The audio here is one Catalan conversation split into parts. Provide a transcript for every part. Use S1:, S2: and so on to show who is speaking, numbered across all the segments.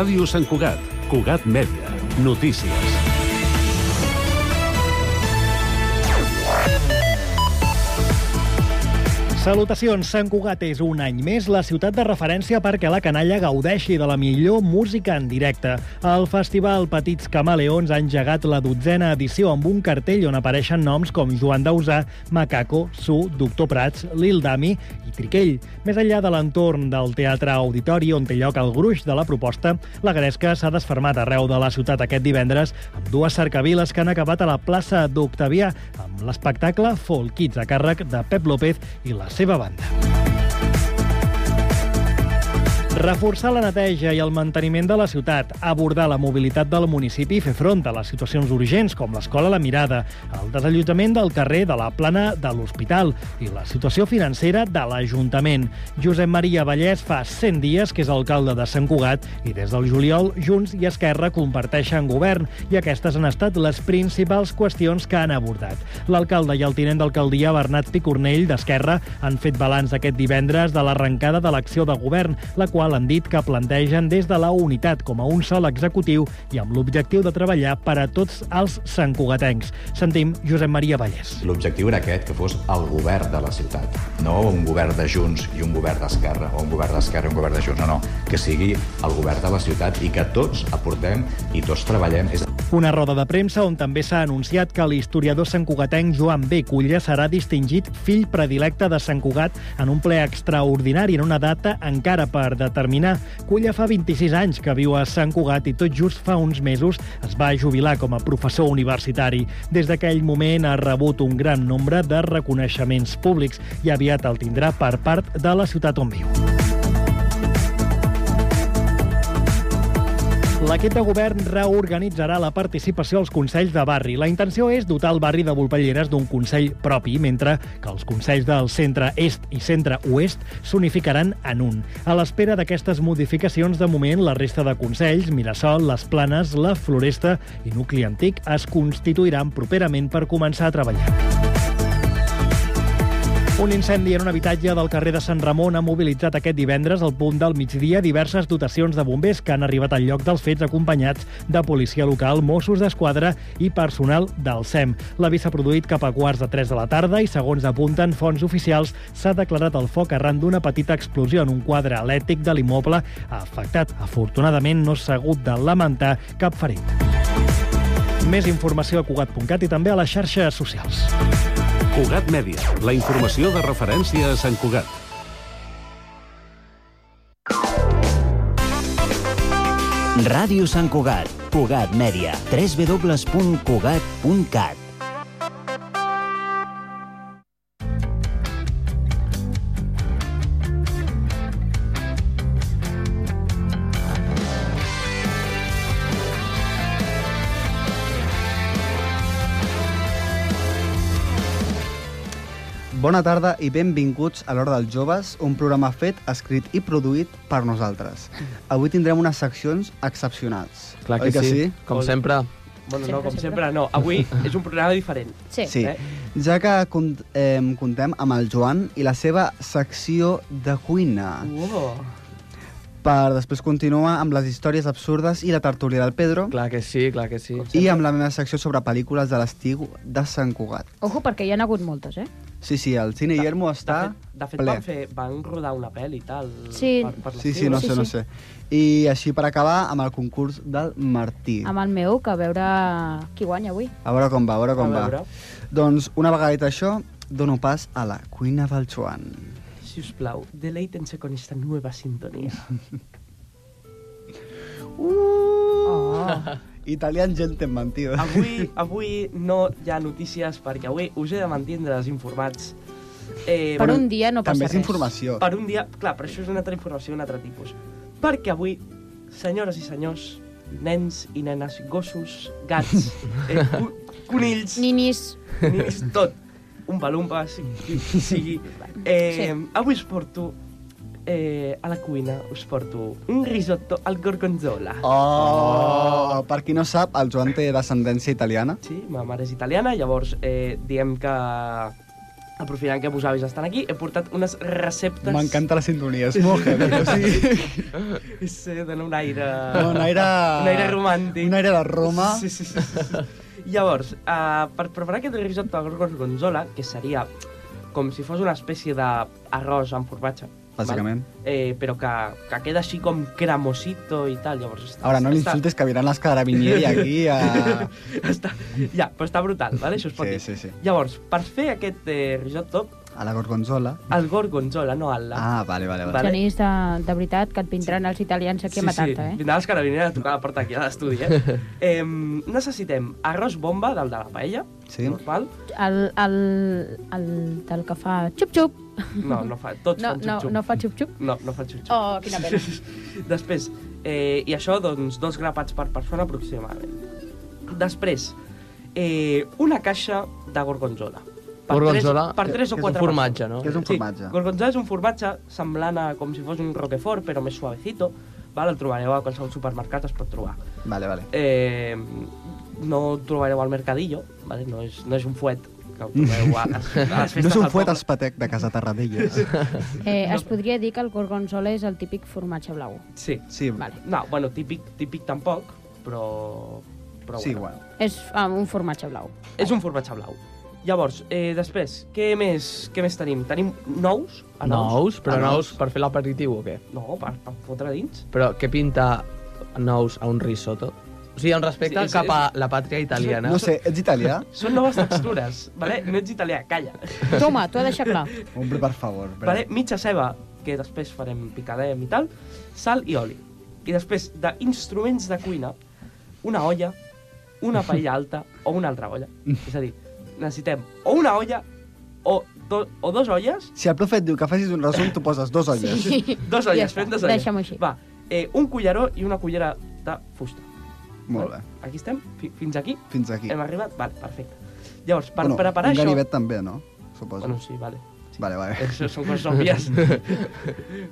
S1: Ràdio Sant Cugat, Cugat Mèdia, notícies.
S2: Salutacions, Sant Cugat és un any més la ciutat de referència perquè la canalla gaudeixi de la millor música en directe. El festival Petits Camaleons ha engegat la dotzena edició amb un cartell on apareixen noms com Joan Dausà, Macaco, Su, Doctor Prats, Lil Dami i Triquell. Més enllà de l'entorn del Teatre Auditori, on té lloc el gruix de la proposta, la gresca s'ha desfermat arreu de la ciutat aquest divendres amb dues cercaviles que han acabat a la plaça d'Octavià amb l'espectacle Folk Kids a càrrec de Pep López i la seva banda. Reforçar la neteja i el manteniment de la ciutat, abordar la mobilitat del municipi i fer front a les situacions urgents com l'escola La Mirada, el desallotjament del carrer de la plana de l'Hospital i la situació financera de l'Ajuntament. Josep Maria Vallès fa 100 dies que és alcalde de Sant Cugat i des del juliol Junts i Esquerra comparteixen govern i aquestes han estat les principals qüestions que han abordat. L'alcalde i el tinent d'alcaldia Bernat Picornell d'Esquerra han fet balanç aquest divendres de l'arrencada de l'acció de govern, la qual han dit que plantegen des de la unitat com a un sol executiu i amb l'objectiu de treballar per a tots els santcugatencs. Sentim Josep Maria Vallès.
S3: L'objectiu era aquest, que fos el govern de la ciutat, no un govern de Junts i un govern d'Esquerra, o un govern d'Esquerra i un govern de Junts, no, no, que sigui el govern de la ciutat i que tots aportem i tots treballem. És...
S2: Una roda de premsa on també s'ha anunciat que l'historiador santcugatenc Joan B. Culla serà distingit fill predilecte de Sant Cugat en un ple extraordinari en una data encara per determinar. Culla fa 26 anys que viu a Sant Cugat i tot just fa uns mesos es va jubilar com a professor universitari. Des d'aquell moment ha rebut un gran nombre de reconeixements públics i aviat el tindrà per part de la ciutat on viu. L'equip de govern reorganitzarà la participació als consells de barri. La intenció és dotar el barri de Volpelleres d'un consell propi, mentre que els consells del centre est i centre oest s'unificaran en un. A l'espera d'aquestes modificacions, de moment, la resta de consells, Mirasol, Les Planes, La Floresta i Nucli Antic es constituiran properament per començar a treballar. Un incendi en un habitatge del carrer de Sant Ramon ha mobilitzat aquest divendres al punt del migdia diverses dotacions de bombers que han arribat al lloc dels fets acompanyats de policia local, Mossos d'Esquadra i personal del SEM. L'avís s'ha produït cap a quarts de 3 de la tarda i, segons apunten fonts oficials, s'ha declarat el foc arran d'una petita explosió en un quadre elèctric de l'immoble afectat. Afortunadament, no s'ha hagut de lamentar cap ferit. Més informació a Cugat.cat i també a les xarxes socials.
S1: Cugat Mèdia, la informació de referència a Sant Cugat.
S4: Ràdio Sant Cugat, Cugat Mèdia, www.cugat.cat.
S5: Bona tarda i benvinguts a l'Hora dels Joves, un programa fet, escrit i produït per nosaltres. Avui tindrem unes seccions excepcionals.
S6: Clar que,
S5: Oi que sí?
S6: com sempre.
S7: Bueno,
S8: Sempre,
S7: no, com
S8: sempre.
S7: sempre. no. Avui és un programa diferent.
S8: Sí.
S5: Sí.
S7: Eh?
S5: Ja que cont eh, contem amb el Joan i la seva secció de cuina,
S7: Oh.
S5: per després continuar amb les històries absurdes i la tertúlia del Pedro,
S6: Clar que sí, clar que sí.
S5: i amb la meva secció sobre pel·lícules de l'estiu de Sant Cugat.
S8: Ojo, perquè hi ha hagut moltes, eh?
S5: Sí, sí, el Cine Guillermo
S7: De
S5: està
S7: fet, de fet
S5: ple.
S7: van, fer, van rodar una pel·li i tal.
S8: Sí.
S5: Sí, sí, no
S8: Sí,
S5: sé, no
S8: sí.
S5: sé. I així per acabar, amb el concurs del Martí.
S8: Amb el meu, que a veure qui guanya avui.
S5: A veure com va, a veure com
S7: A
S5: va.
S7: veure.
S5: Doncs una vegada dit això, dono pas a la cuina del Joan.
S7: Si us plau, deleitense con esta nueva sintonia. Uh!
S8: Oh.
S5: Ah. Italian gentleman, tio.
S7: Avui, avui no hi ha notícies perquè avui us he de mantindre desinformats. Eh,
S8: Per un dia no passa
S5: També és
S8: res.
S5: informació.
S7: per un dia... Clar, però això és una altra informació, un altre tipus. Perquè avui, senyores i senyors, nens i nenes, gossos, gats, eh, co- conills...
S8: Ninis,
S7: Miris tot. Un balumpa, sigui. sigui. Eh,
S8: Sí.
S7: Avui us porto eh, a la cuina, us porto un risotto al gorgonzola.
S5: Ah. Oh, per qui no sap, el Joan té descendència italiana.
S7: Sí, ma mare és italiana, llavors eh, diem que aprofitant que vos avis estan aquí, he portat unes receptes...
S5: M'encanta la sintonia, és molt heavy. O sigui,
S7: És eh, donar un aire...
S5: no, un aire...
S7: Un aire romàntic.
S5: Un aire de Roma.
S7: Sí, sí, sí. sí, sí. Llavors, uh, per preparar aquest risotto al gorgonzola, que seria com si fos una espècie d'arròs amb formatge,
S5: Bàsicament.
S7: val? eh, però que, que queda així com cremosito i tal, llavors... Està,
S5: Ara, no
S7: està-
S5: l'insultes que vindran les carabinieri aquí a...
S7: Està, ja, però està brutal, vale? això es pot
S5: Sí,
S7: dir.
S5: sí, sí.
S7: Llavors, per fer aquest eh, risotto,
S5: a la gorgonzola.
S7: el gorgonzola, no el...
S5: Ah, vale, vale, vale.
S7: Vale.
S8: Vale. Genís, de, de veritat, que et vindran els italians aquí a matar-te, eh?
S7: Vindran els carabiners a tocar la porta aquí a l'estudi, eh? eh? Necessitem arròs bomba, del de la paella,
S5: Sí.
S7: normal.
S8: El, el, el del que fa xup-xup.
S7: No, no fa, tots
S8: No,
S7: fan
S8: no,
S7: xup-xup.
S8: no fa xup-xup.
S7: No, no fa xup-xup.
S8: Oh, quina pena.
S7: Després, eh, i això, doncs, dos grapats per persona aproximadament. Després, eh, una caixa de gorgonzola.
S6: Gorgonzola
S7: tres, per tres o
S5: és un
S7: quatre
S6: formatge,
S7: persones.
S6: no?
S5: Que és un formatge.
S7: Sí, gorgonzola és un formatge semblant a com si fos un roquefort, però més suavecito. Val? El trobareu a qualsevol supermercat, es pot trobar.
S5: Vale, vale.
S7: Eh, no el trobareu al mercadillo, vale? no, és, no és un fuet que el trobeu a, a, les festes
S5: No és
S7: del
S5: un fuet
S7: poble.
S5: espatec de casa Tarradellas.
S8: Eh, es podria dir que el gorgonzola és el típic formatge blau.
S7: Sí.
S5: Sí,
S8: Vale.
S7: No, bueno, típic, típic tampoc, però... però
S5: sí,
S7: bueno.
S5: bueno.
S8: És ah, un formatge blau.
S7: És un formatge blau. Llavors, eh, després, què més, què més tenim? Tenim nous? A
S6: Nous, però
S7: A
S6: nous per fer l'aperitiu o què?
S7: No, per, per fotre dins.
S6: Però què pinta nous a un risotto? O sigui, en respecte
S7: Sí, és-
S6: cap a la pàtria italiana.
S5: No sé, ets italià?
S7: Són noves textures, vale? No ets italià, calla.
S8: Toma, t'ho he deixat clar.
S5: Hombre, per favor. però-
S7: Vale? Mitja ceba, que després farem picadem i tal, sal i oli. I després d'instruments de cuina, una olla, una paella alta o una altra olla. És a dir, necessitem o una olla o, do, o dos olles
S5: Si el profe et diu que facis un resum, tu poses dos olles. Sí.
S7: Dos
S8: Ja
S7: olles,
S8: està,
S7: fem dos olles.
S8: deixa'm així.
S7: Va, eh, un culleró i una cullera de fusta.
S5: Molt bé.
S7: Val? Aquí estem? Fi- Fins aquí?
S5: Fins aquí.
S7: Hem arribat? Vale, perfecte. Llavors, Eh, per
S5: bueno,
S7: preparar
S5: un
S7: això...
S5: ganivet també, no? Suposo.
S7: Bueno, sí, vale. Sí.
S5: Vale, vale.
S7: Això són coses òbvies.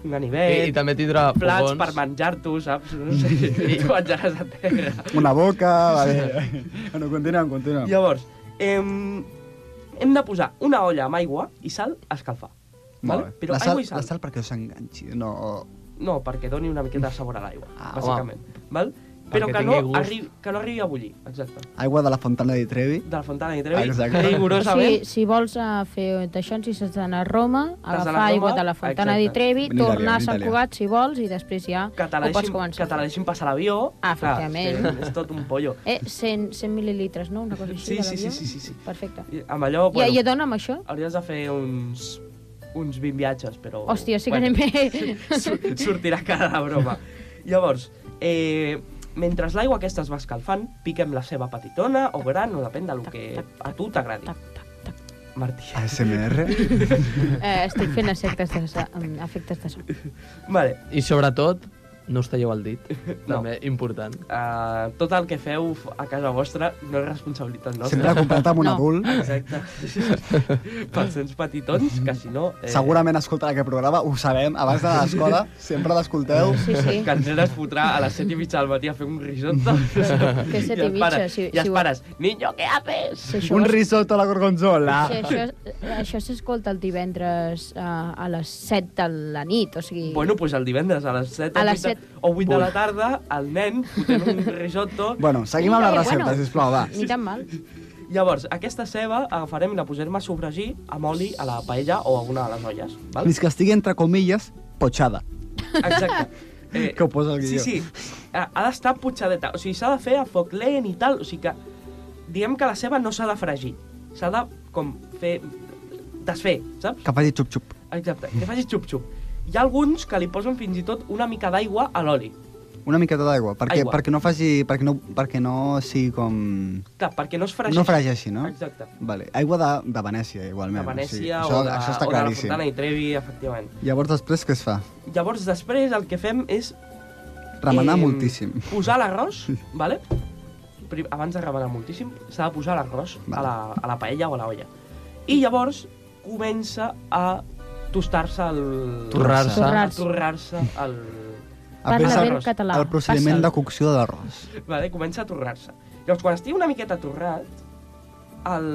S7: un ganivet,
S6: I, I també tindrà
S7: plats
S6: fogons.
S7: per menjar-t'ho, saps? No sé, i tu menjaràs a terra.
S5: Una boca, vale. Bueno, continuem, continuem.
S7: Llavors, em, hem de posar una olla amb aigua i sal a escalfar.
S5: Molt
S7: Vale?
S5: bé.
S7: Però
S5: la sal,
S7: aigua i sal.
S5: La sal perquè no s'enganxi. No, o-
S7: No, perquè doni una miqueta de sabor a l'aigua,
S5: Ah,
S7: bàsicament. Val? Però
S6: Perquè
S7: que no,
S6: tingui gust.
S7: arribi, que no arribi a bullir, exacte.
S5: aigua de la Fontana di Trevi.
S7: De la Fontana i Trevi,
S5: Exacte.
S7: rigorosament.
S8: Si, si vols eh, fer d'això, si has d'anar a Roma,
S7: Has
S8: agafar
S7: d'anar a Roma,
S8: aigua de la
S7: exacte.
S8: Fontana di Trevi,
S5: Vine
S8: tornar
S5: italià,
S8: a
S5: vine
S8: Sant
S5: italià.
S8: Cugat, si vols, i després ja
S7: Que te la
S8: ho pots
S7: deixin,
S8: començar.
S7: que te la deixin passar l'avió.
S8: Ah,
S7: clar,
S8: efectivament.
S7: és que És tot un pollo.
S8: Eh, 100, 100 mil·lilitres, no? Una
S7: Sí,
S8: cosa així de
S7: sí, sí,
S8: l'avió?
S7: sí, sí, sí.
S8: Perfecte.
S7: I Amb allò,
S8: Bueno. I, I
S7: bueno,
S8: dona'm això?
S7: hauries de fer uns uns 20 viatges, però...
S8: Hòstia, sí que anem bé.
S7: sur- Sortirà cara de broma. Llavors, eh, mentre l'aigua aquesta es va escalfant, piquem la ceba petitona o gran, o depèn del que a tu t'agradi.
S8: Tac, tac, tac.
S7: Martí.
S5: ASMR.
S8: Eh, estic fent efectes de, so- mm, efectes de so.
S7: Vale,
S6: I sobretot, no us talleu el dit.
S7: No.
S6: També important.
S7: Uh, tot el que feu f- a casa vostra no és responsabilitat nostra.
S5: Sempre comprat amb un
S8: No.
S5: adult.
S7: Exacte. Pels nens petitons, que si no... eh,
S5: Segurament escolten aquest programa, ho sabem, abans de l'escola, sempre l'escolteu.
S8: Sí, sí.
S7: Que el nen es fotrà a les 7 i mitja del matí a fer un risotto.
S8: Que set
S7: I
S8: i
S7: els
S8: mitja,
S7: pares-
S8: si-
S7: I els
S8: si ho-
S7: pares, niño, ¿qué haces?
S8: Si això
S5: Un
S8: ho has-
S5: risotto a la gorgonzola.
S8: Sí, això, això s'escolta el divendres eh, a les 7 de la nit, o sigui...
S7: Bueno, doncs el divendres a les 7
S8: A
S7: o
S8: les
S7: 8,
S8: set.
S7: de, o 8 de la tarda, el nen fotent un risotto.
S5: Bueno, seguim amb la
S8: Eh,
S5: recepta,
S8: bueno,
S5: sisplau, va.
S8: Ni tan mal.
S7: Llavors, aquesta ceba agafarem i la posarem a sofregir amb oli a la paella o a una de les olles. Val?
S5: Fins que estigui, entre comilles, potxada.
S7: Exacte. Eh,
S5: Que ho posa el
S7: Sí,
S5: guió.
S7: sí. Ha ha d'estar putxadeta. O sigui, s'ha de fer a foc lent i tal. O sigui que, diguem que la ceba no s'ha de fregir. S'ha de, com, fer... desfer, saps?
S5: Que faci xup-xup.
S7: Exacte, que faci xup-xup. Hi ha alguns que li posen fins i tot una mica d'aigua a l'oli.
S5: Una miqueta d'aigua, perquè,
S7: Aigua.
S5: perquè no faci... Perquè no, perquè no sigui com...
S7: Clar, perquè no es fregeixi.
S5: No fregeixi, no?
S7: Exacte.
S5: Vale. Aigua de, de Venècia, igualment.
S7: De
S5: o
S7: Venècia o,
S5: sigui, això,
S7: de,
S5: això està
S7: o de la
S5: claríssim.
S7: Fontana i Trevi, efectivament.
S5: Llavors, després, què es fa?
S7: Llavors, després, el que fem és...
S5: Remenar
S7: eh,
S5: moltíssim.
S7: Posar l'arròs, vale? Pri- abans de remenar moltíssim, s'ha de posar l'arròs a,
S5: Vale.
S7: la, a la paella o a la olla. I llavors comença a tostar-se el...
S6: Torrar-se. Ah,
S8: Torrar-se.
S7: A torrar-se el...
S5: A
S8: Parla
S5: pensar
S8: bé el català.
S5: El procediment
S8: Passa'l.
S5: de cocció de l'arròs.
S7: Vale, comença a torrar-se. Llavors, quan estigui una miqueta torrat, el...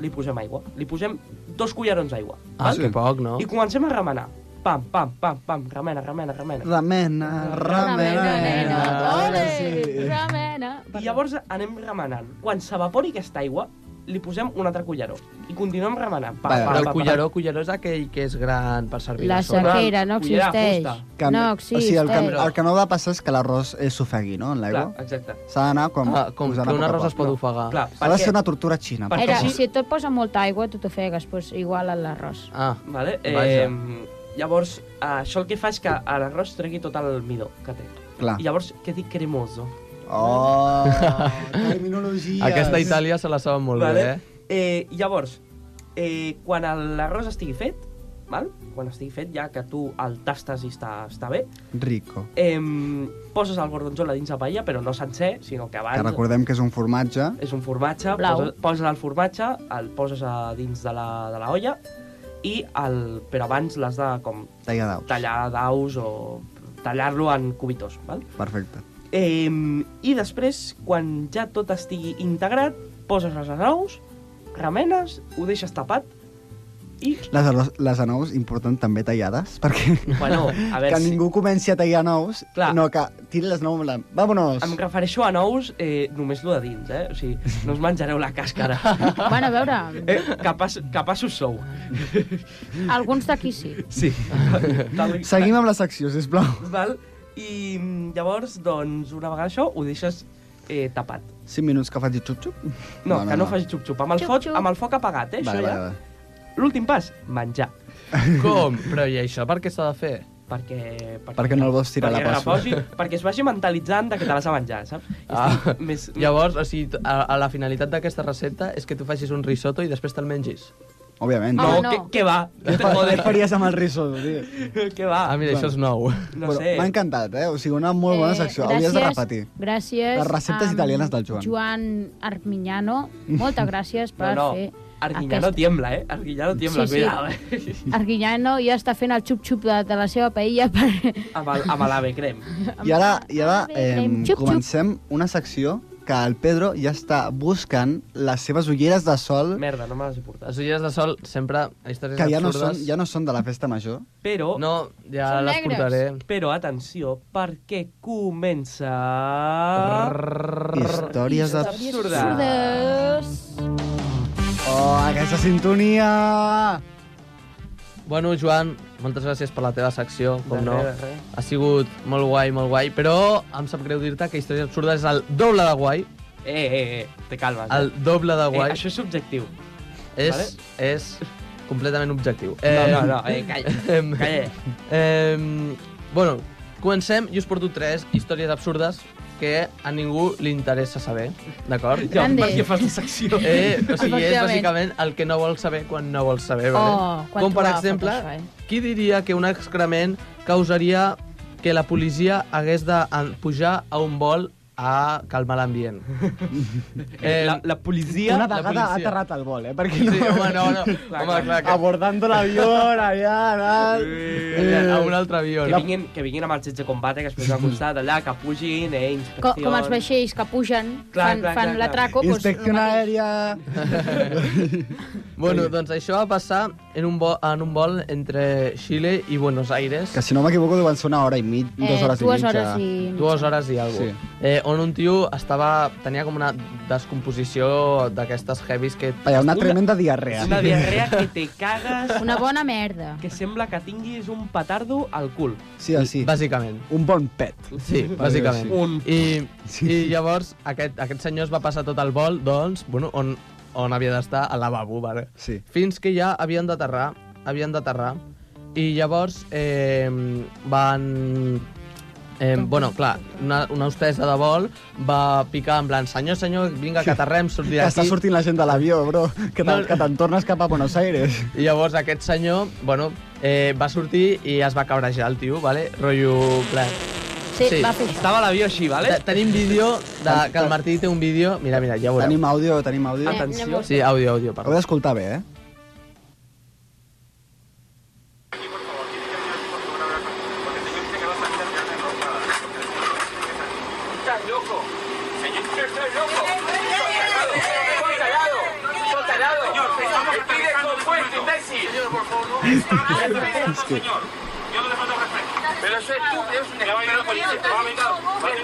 S7: li posem aigua. Li posem dos cullerons d'aigua.
S6: Ah,
S7: val?
S6: que poc, no?
S7: I comencem a remenar. Pam, pam, pam, pam, remena, remena, remena.
S5: Ramena, ramena, eh,
S8: Ramena, nena,
S5: Ara
S8: ole,
S5: sí.
S8: ramena.
S7: I llavors anem remenant. Quan s'evapori aquesta aigua, li posem un altre culleró. I continuem remenant. Pa,
S5: Vale,
S7: pa,
S6: Però el
S7: pa,
S6: culleró, culleró és aquell que és gran per servir
S8: La
S6: la sopa.
S8: sequera no
S7: Cullera de
S8: existeix.
S7: fusta.
S5: Que-
S8: No
S5: o sigui, el, que,
S8: existeix.
S5: el que no ha de passar és que l'arròs eh, s'ofegui, no?, en
S7: Pa,
S5: l'aigua.
S7: clar, exacte.
S5: S'ha d'anar com...
S6: Ah, com
S5: posant a
S6: que
S5: poc
S6: una
S5: a
S6: rosa es
S5: poc.
S6: pot ofegar.
S7: Clar,
S5: Ha de
S7: perquè...
S5: ser una tortura xina.
S7: Per-
S8: Era,
S7: perquè si-
S8: si et posa molta aigua, tu t'ofegues, doncs igual a l'arròs.
S6: Ah,
S7: Vale?
S6: Vaja.
S7: Eh, llavors, això el que fa és que a l'arròs tregui tot el midó que té.
S5: Clar.
S7: I llavors quedi cremoso.
S5: Oh, terminologies.
S6: aquesta Itàlia se la saben molt
S7: vale?
S6: bé, eh?
S7: Eh, llavors, eh, quan el- l'arròs estigui fet, val? quan estigui fet, ja que tu el tastes i està, està bé,
S5: Rico.
S7: eh, poses el gorgonzola dins la paella, però no sencer, sinó que
S5: Que
S7: abans...
S5: recordem que és un formatge.
S7: és un formatge,
S8: Blau.
S7: poses, poses el formatge, el poses a dins de la, de la olla i el, però abans l'has de com,
S5: Talla d'aus.
S7: tallar daus o tallar-lo en cubitos. Val?
S5: Perfecte.
S7: Eh, I després, quan ja tot estigui integrat, poses les anous, remenes, ho deixes tapat i,
S5: Les, arròs, les anous, important, també tallades, perquè
S7: bueno, a
S5: que
S7: veure si...
S5: ningú comenci a tallar nous,
S7: Clar.
S5: no, que tiri les nous en plan, vámonos!
S7: Em refereixo a nous eh, només lo de dins, eh? O sigui, no us menjareu la càscara.
S8: Bueno, a veure,
S7: Eh, capaç, capaços sou.
S8: alguns d'aquí sí.
S7: Sí. Tal,
S5: Seguim amb la secció, sisplau.
S7: Val? I mm, llavors, doncs, una vegada això, ho deixes eh, tapat.
S5: 5 minuts que faci xup-xup.
S7: No, no, no que no, facis xup-xup. Amb, el
S8: Xup,
S7: foc,
S8: xup.
S7: amb el foc apagat, eh,
S5: Vale,
S7: això
S5: vale,
S7: ja.
S5: vale.
S7: L'últim pas, menjar.
S6: Com? Però i això per què s'ha de fer?
S7: Perquè, perquè,
S5: Perquè no el vols tirar a la
S7: perquè
S5: pòssula.
S7: reposi- perquè es vagi mentalitzant de que te l'has de menjar, saps? I
S6: Ah,
S7: estic més...
S6: llavors, o sigui, t- a, a la finalitat d'aquesta recepta és que tu facis un risotto i després te'l mengis.
S5: Òbviament.
S7: No,
S8: Home,
S7: no.
S8: Ah, no.
S7: Que, que va. Que te
S5: Joder,
S7: joder,
S5: Què faries amb el risotto, tio?
S7: que va.
S6: Ah, mira,
S5: clar.
S6: això és nou.
S7: No
S5: Bueno,
S7: sé.
S5: M'ha encantat, eh? O sigui, una molt bona secció. Hauries de repetir.
S8: Gràcies.
S5: Les receptes
S8: amb
S5: italianes del Joan.
S8: Joan Armiñano, moltes gràcies per
S7: no, no.
S8: fer...
S7: Arguiñano
S8: aquest-
S7: tiembla, eh? Arguiñano tiembla,
S8: Sí, sí.
S7: cuidado, eh?
S8: Arguiñano ja està fent el xup-xup de, de la seva paella per...
S7: Amb, el- amb l'ave crem.
S5: I ara, i ara
S8: Bé,
S5: eh,
S8: crem. Xup, xup.
S5: comencem una secció que el Pedro ja està buscant les seves ulleres de sol
S7: Merda, no me les he portat.
S6: Les ulleres de sol sempre... Històries
S5: que ja no, són,
S6: absurdes. Oh,
S5: ja no són de la festa major.
S7: Però...
S6: No, ja
S8: Són
S6: les
S8: negres.
S6: portaré.
S7: Però atenció, perquè comença...
S5: Històries de...
S7: Absurda.
S8: Surdes.
S5: Oh, aquesta sintonia!
S6: Bueno, Joan, moltes gràcies per la teva secció, com
S7: De
S6: no.
S7: res, de res.
S6: Ha sigut molt guai, molt guai, però em sap greu dir-te que Històries Absurdes és el doble de guai,
S7: Eh, eh, eh, te calmes. eh?
S6: el doble de
S7: eh,
S6: guai,
S7: això és subjectiu.
S6: és,
S7: vale.
S6: és completament objectiu.
S7: no, no, eh, calla,
S6: em,
S7: calla.
S6: em, bueno, comencem i us porto tres històries absurdes que a ningú li interessa saber, d'acord?
S7: Ja,
S8: Grande.
S7: per què fas la secció?
S6: Eh, o sigui, és
S8: Efectivament.
S6: bàsicament el que no vols saber quan no vols saber,
S8: Oh,
S6: vale?
S8: quan
S6: Com per
S8: t'ho agafes,
S6: exemple,
S8: això, eh?
S6: qui diria que un excrement causaria que la policia hagués de en- pujar a un vol a calmar l'ambient?
S7: Eh, la, la policia...
S5: Una
S6: la
S5: vegada ha
S6: policia.
S5: aterrat el vol, eh? Perquè no...
S6: Sí, home, no, no. Home, clar, Ah, que...
S5: Abordando l'avió, allà, anant...
S6: A un altre avió,
S7: eh, Que
S6: no?
S7: vinguin, que vinguin amb els jets de combat, eh, que es posen al costat allà, que pugin, eh,
S8: Co
S7: inspeccions...
S8: com els vaixells que pugen,
S7: Clar, clar,
S8: fan,
S7: clar,
S8: fan
S7: clar.
S8: l'atraco... doncs,
S5: Inspecció
S8: el mateix.
S5: aèria...
S6: Bueno, doncs això va passar en un, vol, en un vol entre Xile i Buenos Aires.
S5: Que si no m'equivoco deuen ser una hora i mig, dues hores i
S8: Eh, dues
S5: mitja.
S8: hores i...
S6: dues hores i alguna
S5: Sí.
S6: cosa. Eh, on un tio estava, tenia com una descomposició d'aquestes heavies que...
S5: Allà, una tremenda diarrea.
S7: Una diarrea que te cagues,
S8: Una bona merda.
S7: que sembla que tinguis un petardo al cul.
S5: Sí, sí.
S6: Bàsicament.
S5: Un bon pet.
S6: Sí, bàsicament.
S5: sí.
S7: Un-
S6: I,
S5: Sí.
S6: I llavors aquest, aquest senyor es va passar tot el vol, doncs, bueno, on, on havia d'estar, al lavabo, vale?
S5: Sí.
S6: Fins que ja havien d'aterrar, havien d'aterrar, i llavors eh, van... Eh, bueno, clar, una, una hostessa de vol va picar en plan senyor, senyor, vinga, que aterrem, sortir
S5: Que està
S6: d'aquí.
S5: sortint la gent de l'avió, bro. Que te'n
S6: No.
S5: que te'n tornes cap a Buenos Aires.
S6: I llavors aquest senyor, bueno, eh, va sortir i es va cabrejar el tio, vale? Rotllo... Ple.
S8: Sí,
S6: Sí.
S8: va fer això.
S7: Estava a l'avió així, vale?
S6: Tenim vídeo, de, que el Martí té un vídeo... Mira, mira, ja ho veureu.
S5: Tenim àudio, tenim àudio.
S8: Anem- anem
S7: Atenció.
S8: a-
S6: Sí, àudio, àudio,
S5: Heu
S6: perdó.
S5: d'escoltar bé, eh?
S9: ¡Estás loco! ¡Señor, usted está loco! ¡Está loco! sí, señor, por favor, no. Está respetando, señor. Yo no le falto respeto. Pero eso es estúpido, es un Va a venir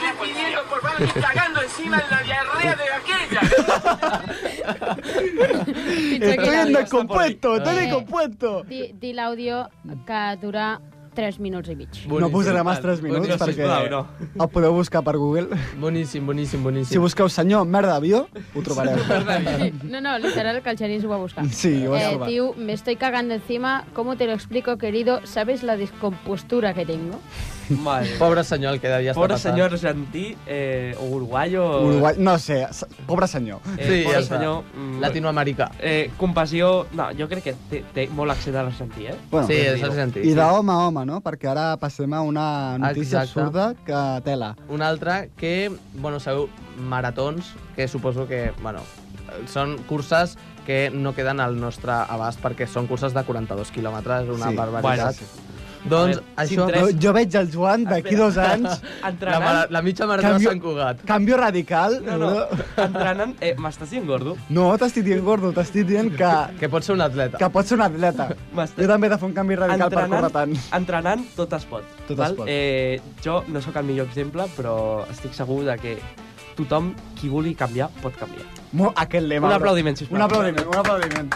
S9: la policía, va a venir la policía. Me estoy pidiendo, por favor, estoy cagando encima de la diarrea de aquella.
S5: Estoy en descompuesto,
S7: descompuesto,
S5: estoy
S8: estoy
S5: en
S8: en
S5: descompuesto.
S8: Di, di l'àudio que dura 3 minuts i mig.
S5: No posaré més 3 minuts
S7: no,
S5: perquè
S7: sisplau, no.
S5: el podeu buscar per Google.
S6: Boníssim, boníssim, boníssim.
S5: Si busqueu senyor merda avió, ho trobareu.
S8: No, no, literal que el Genís ho va buscar.
S5: Sí, ho vas
S8: Eh,
S5: trobar.
S8: tío, me estoy cagando encima. ¿Cómo te lo explico, querido? ¿Sabes la descompostura que tengo?
S6: Eh,
S7: Madre.
S6: Pobre senyor, el que devia estar
S7: Pobre
S6: passant.
S7: senyor argentí, eh, o uruguayo...
S5: Uruguai, no sé, s- pobre senyor.
S7: Eh,
S6: Sí, ja
S7: pobre
S6: està.
S7: senyor... mm,
S6: Latinoamericà.
S7: Eh, compassió... No, jo crec que té, té molt accent a l'argentí, eh?
S5: Bueno,
S6: Sí, és argentí.
S5: I
S6: sí.
S5: d'home a home, no? Perquè ara passem a una notícia
S6: Exacte.
S5: absurda que tela.
S6: Un altre que, bueno, sabeu, maratons, que suposo que, bueno, eh, són curses que no queden al nostre abast perquè són curses de 42 quilòmetres, una
S5: Sí,
S6: barbaritat.
S5: bueno,
S6: Doncs
S7: A veure,
S6: això...
S7: cinc,
S5: Jo,
S7: tres.
S5: jo veig el Joan d'aquí dos anys,
S6: La,
S7: Entrenant...
S6: mara, la mitja marató
S5: Canvio-
S6: de Sant Cugat.
S5: canvio radical.
S7: No, no, entrenant... Eh, M'estàs dient gordo?
S5: No, t'estic dient gordo, t'estic dient que,
S6: Que pot ser un atleta.
S5: que pots ser un atleta.
S7: M'estàs-
S5: Jo també he de fer un canvi radical per
S7: Entrenant,
S5: córrer tant.
S7: entrenant tot es pot.
S5: Tot es pot.
S7: Eh, jo no sóc el millor exemple, però estic segur de que tothom qui vulgui canviar pot canviar.
S5: Mo, aquest lema.
S7: Un
S5: bro.
S7: aplaudiment, sisplau.
S5: Eh, Un aplaudiment, un aplaudiment.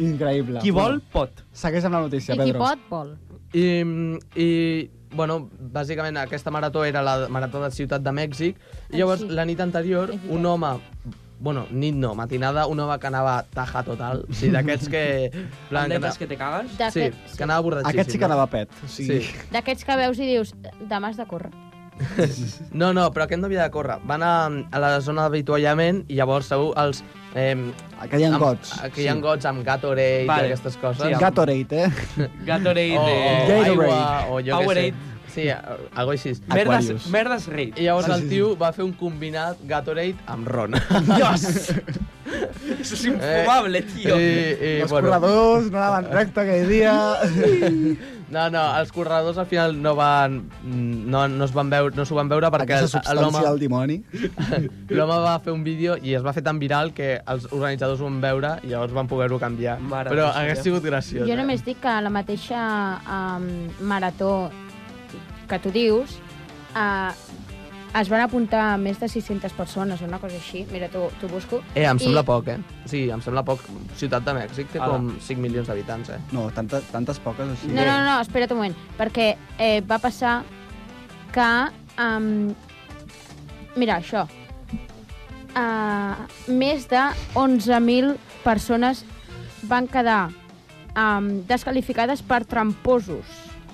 S5: Increïble.
S7: Qui vol, pot.
S5: Segueix amb la notícia,
S8: I qui
S5: Pedro.
S8: pot, vol.
S6: I, i bueno, bàsicament aquesta marató era la marató de Ciutat de Mèxic. I llavors,
S8: Ah, sí.
S6: la nit anterior,
S8: És veritat.
S6: un home... Bueno, nit no, matinada, un home que anava taja total. O sigui, d'aquests que...
S7: Plan,
S6: que
S7: Atletes que te cagues.
S6: Sí,
S8: D'aquest-
S6: que anava borratxíssim. eh?
S5: Aquest sí que anava pet. O
S6: Sí.
S5: sigui,
S8: D'aquests que veus i dius, demà has de córrer.
S6: No, no, però aquest no havia de córrer. Van a, a la zona d'avituallament i llavors segur els... Eh,
S5: Aquell en gots.
S6: Que hi ha gots amb Gatorade
S7: Vale.
S6: i aquestes coses.
S7: Sí, amb-
S5: Gatorade, eh?
S7: Gatorade,
S6: o,
S5: oh,
S7: eh,
S6: o
S5: Gatorade.
S6: aigua, o jo què sé.
S7: Powerade.
S6: Sí, algo així.
S7: merdes,
S5: Aquarius.
S7: merdes raid.
S6: I llavors el tio va fer un combinat Gatorade amb ron. Eh?
S5: Dios!
S7: Eso es infumable, tio.
S6: I, i,
S5: Els corredors no anaven recte aquell dia.
S6: no, no, els corredors al final no van... No, no es van veure, no s'ho van veure perquè
S5: Aquesta substància del dimoni.
S6: L'home va fer un vídeo i es va fer tan viral que els organitzadors ho van veure i llavors van poder-ho canviar.
S7: Mare
S6: Però
S7: de Déu.
S6: hagués sigut graciós.
S8: Jo
S6: eh?
S8: només dic que la mateixa um, marató que tu dius uh, es van apuntar més de 600 persones, una cosa així. Mira, t'ho t'ho busco.
S6: Eh, em sembla
S8: I-
S6: poc, eh? Sí, em sembla poc. Ciutat de Mèxic té
S7: Ara.
S6: com 5 milions d'habitants, eh?
S5: No, tantes, tantes poques així.
S8: No, no, no, espera't un moment, perquè eh, va passar que... Um, mira, això. Uh, més de 11.000 persones van quedar um, descalificades per tramposos.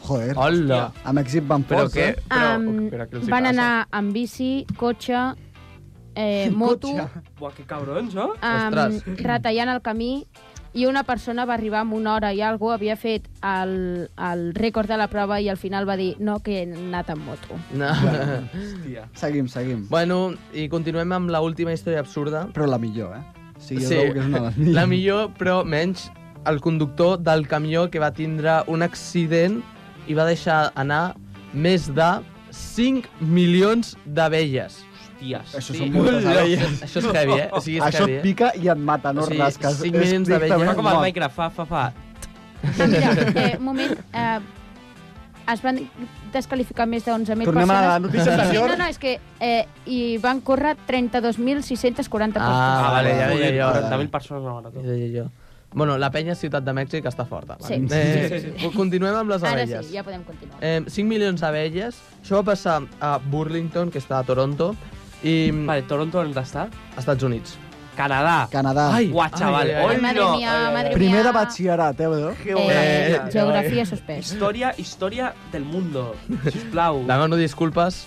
S5: Joder.
S6: Hola!
S5: A Mèxic van
S6: Però
S5: forts,
S6: què?
S5: eh?
S6: Però,
S8: Em,
S6: però què els hi
S8: van
S6: passa?
S8: anar amb bici, cotxe, eh, moto,
S7: Buah, que cabrons, no?
S8: um,
S6: Ostres.
S8: retallant el camí i una persona va arribar amb una hora i algú havia fet el, el rècord de la prova i al final va dir no, que he anat amb moto.
S6: No.
S7: Hòstia.
S5: Seguim, seguim.
S6: bueno, i continuem amb la última història absurda.
S5: Però la millor, eh? O sigui, jo trobo que és una de les millors.
S6: la millor, però menys el conductor del camió que va tindre un accident i va deixar anar més de 5 milions d'abelles.
S7: Hòsties.
S5: Això són moltes
S6: Hola.
S5: abelles.
S6: Això és heavy, eh? O sigui, és
S5: Això et
S6: heavy, eh?
S5: pica i et mata, no
S6: O sigui,
S5: rasques.
S6: cinc milions d'abelles.
S5: Estrictament
S7: Fa com el
S5: mort.
S7: Minecraft, fa, fa, fa.
S8: Ah, mira, eh, un moment, eh, es van descalificar més de 11.000 persones.
S5: Tornem a la notícia
S8: Sí,
S5: anterior.
S8: no, no, és que eh, hi van córrer 32.640 persones.
S6: Ah, vale, Eh, ja deia jo.
S7: 40.000 persones a la marató.
S6: Jo, jo, jo. Bueno, la penya Ciutat de Mèxic està forta.
S8: Sí.
S6: vale. Eh, sí, sí, sí. Continuem amb les
S8: Ara
S6: abelles.
S8: sí, ja podem continuar.
S6: eh, 5 milions d'abelles. Això va passar a Burlington, que està a Toronto, i vale.
S7: Vale, Toronto on està?
S6: Estats Units.
S7: Canadà.
S5: Canadà.
S6: Ai.
S7: Buah, chaval.
S6: Ai, ai, ai.
S7: Oi,
S8: Madre
S7: no.
S8: mía,
S7: Ai, ai, ai.
S8: madre mía.
S5: Primer de batxillerat, eh, bro?
S8: Eh,
S6: Eh,
S8: geografia suspès.
S7: Història, història del mundo. Sisplau.
S6: Demano disculpes.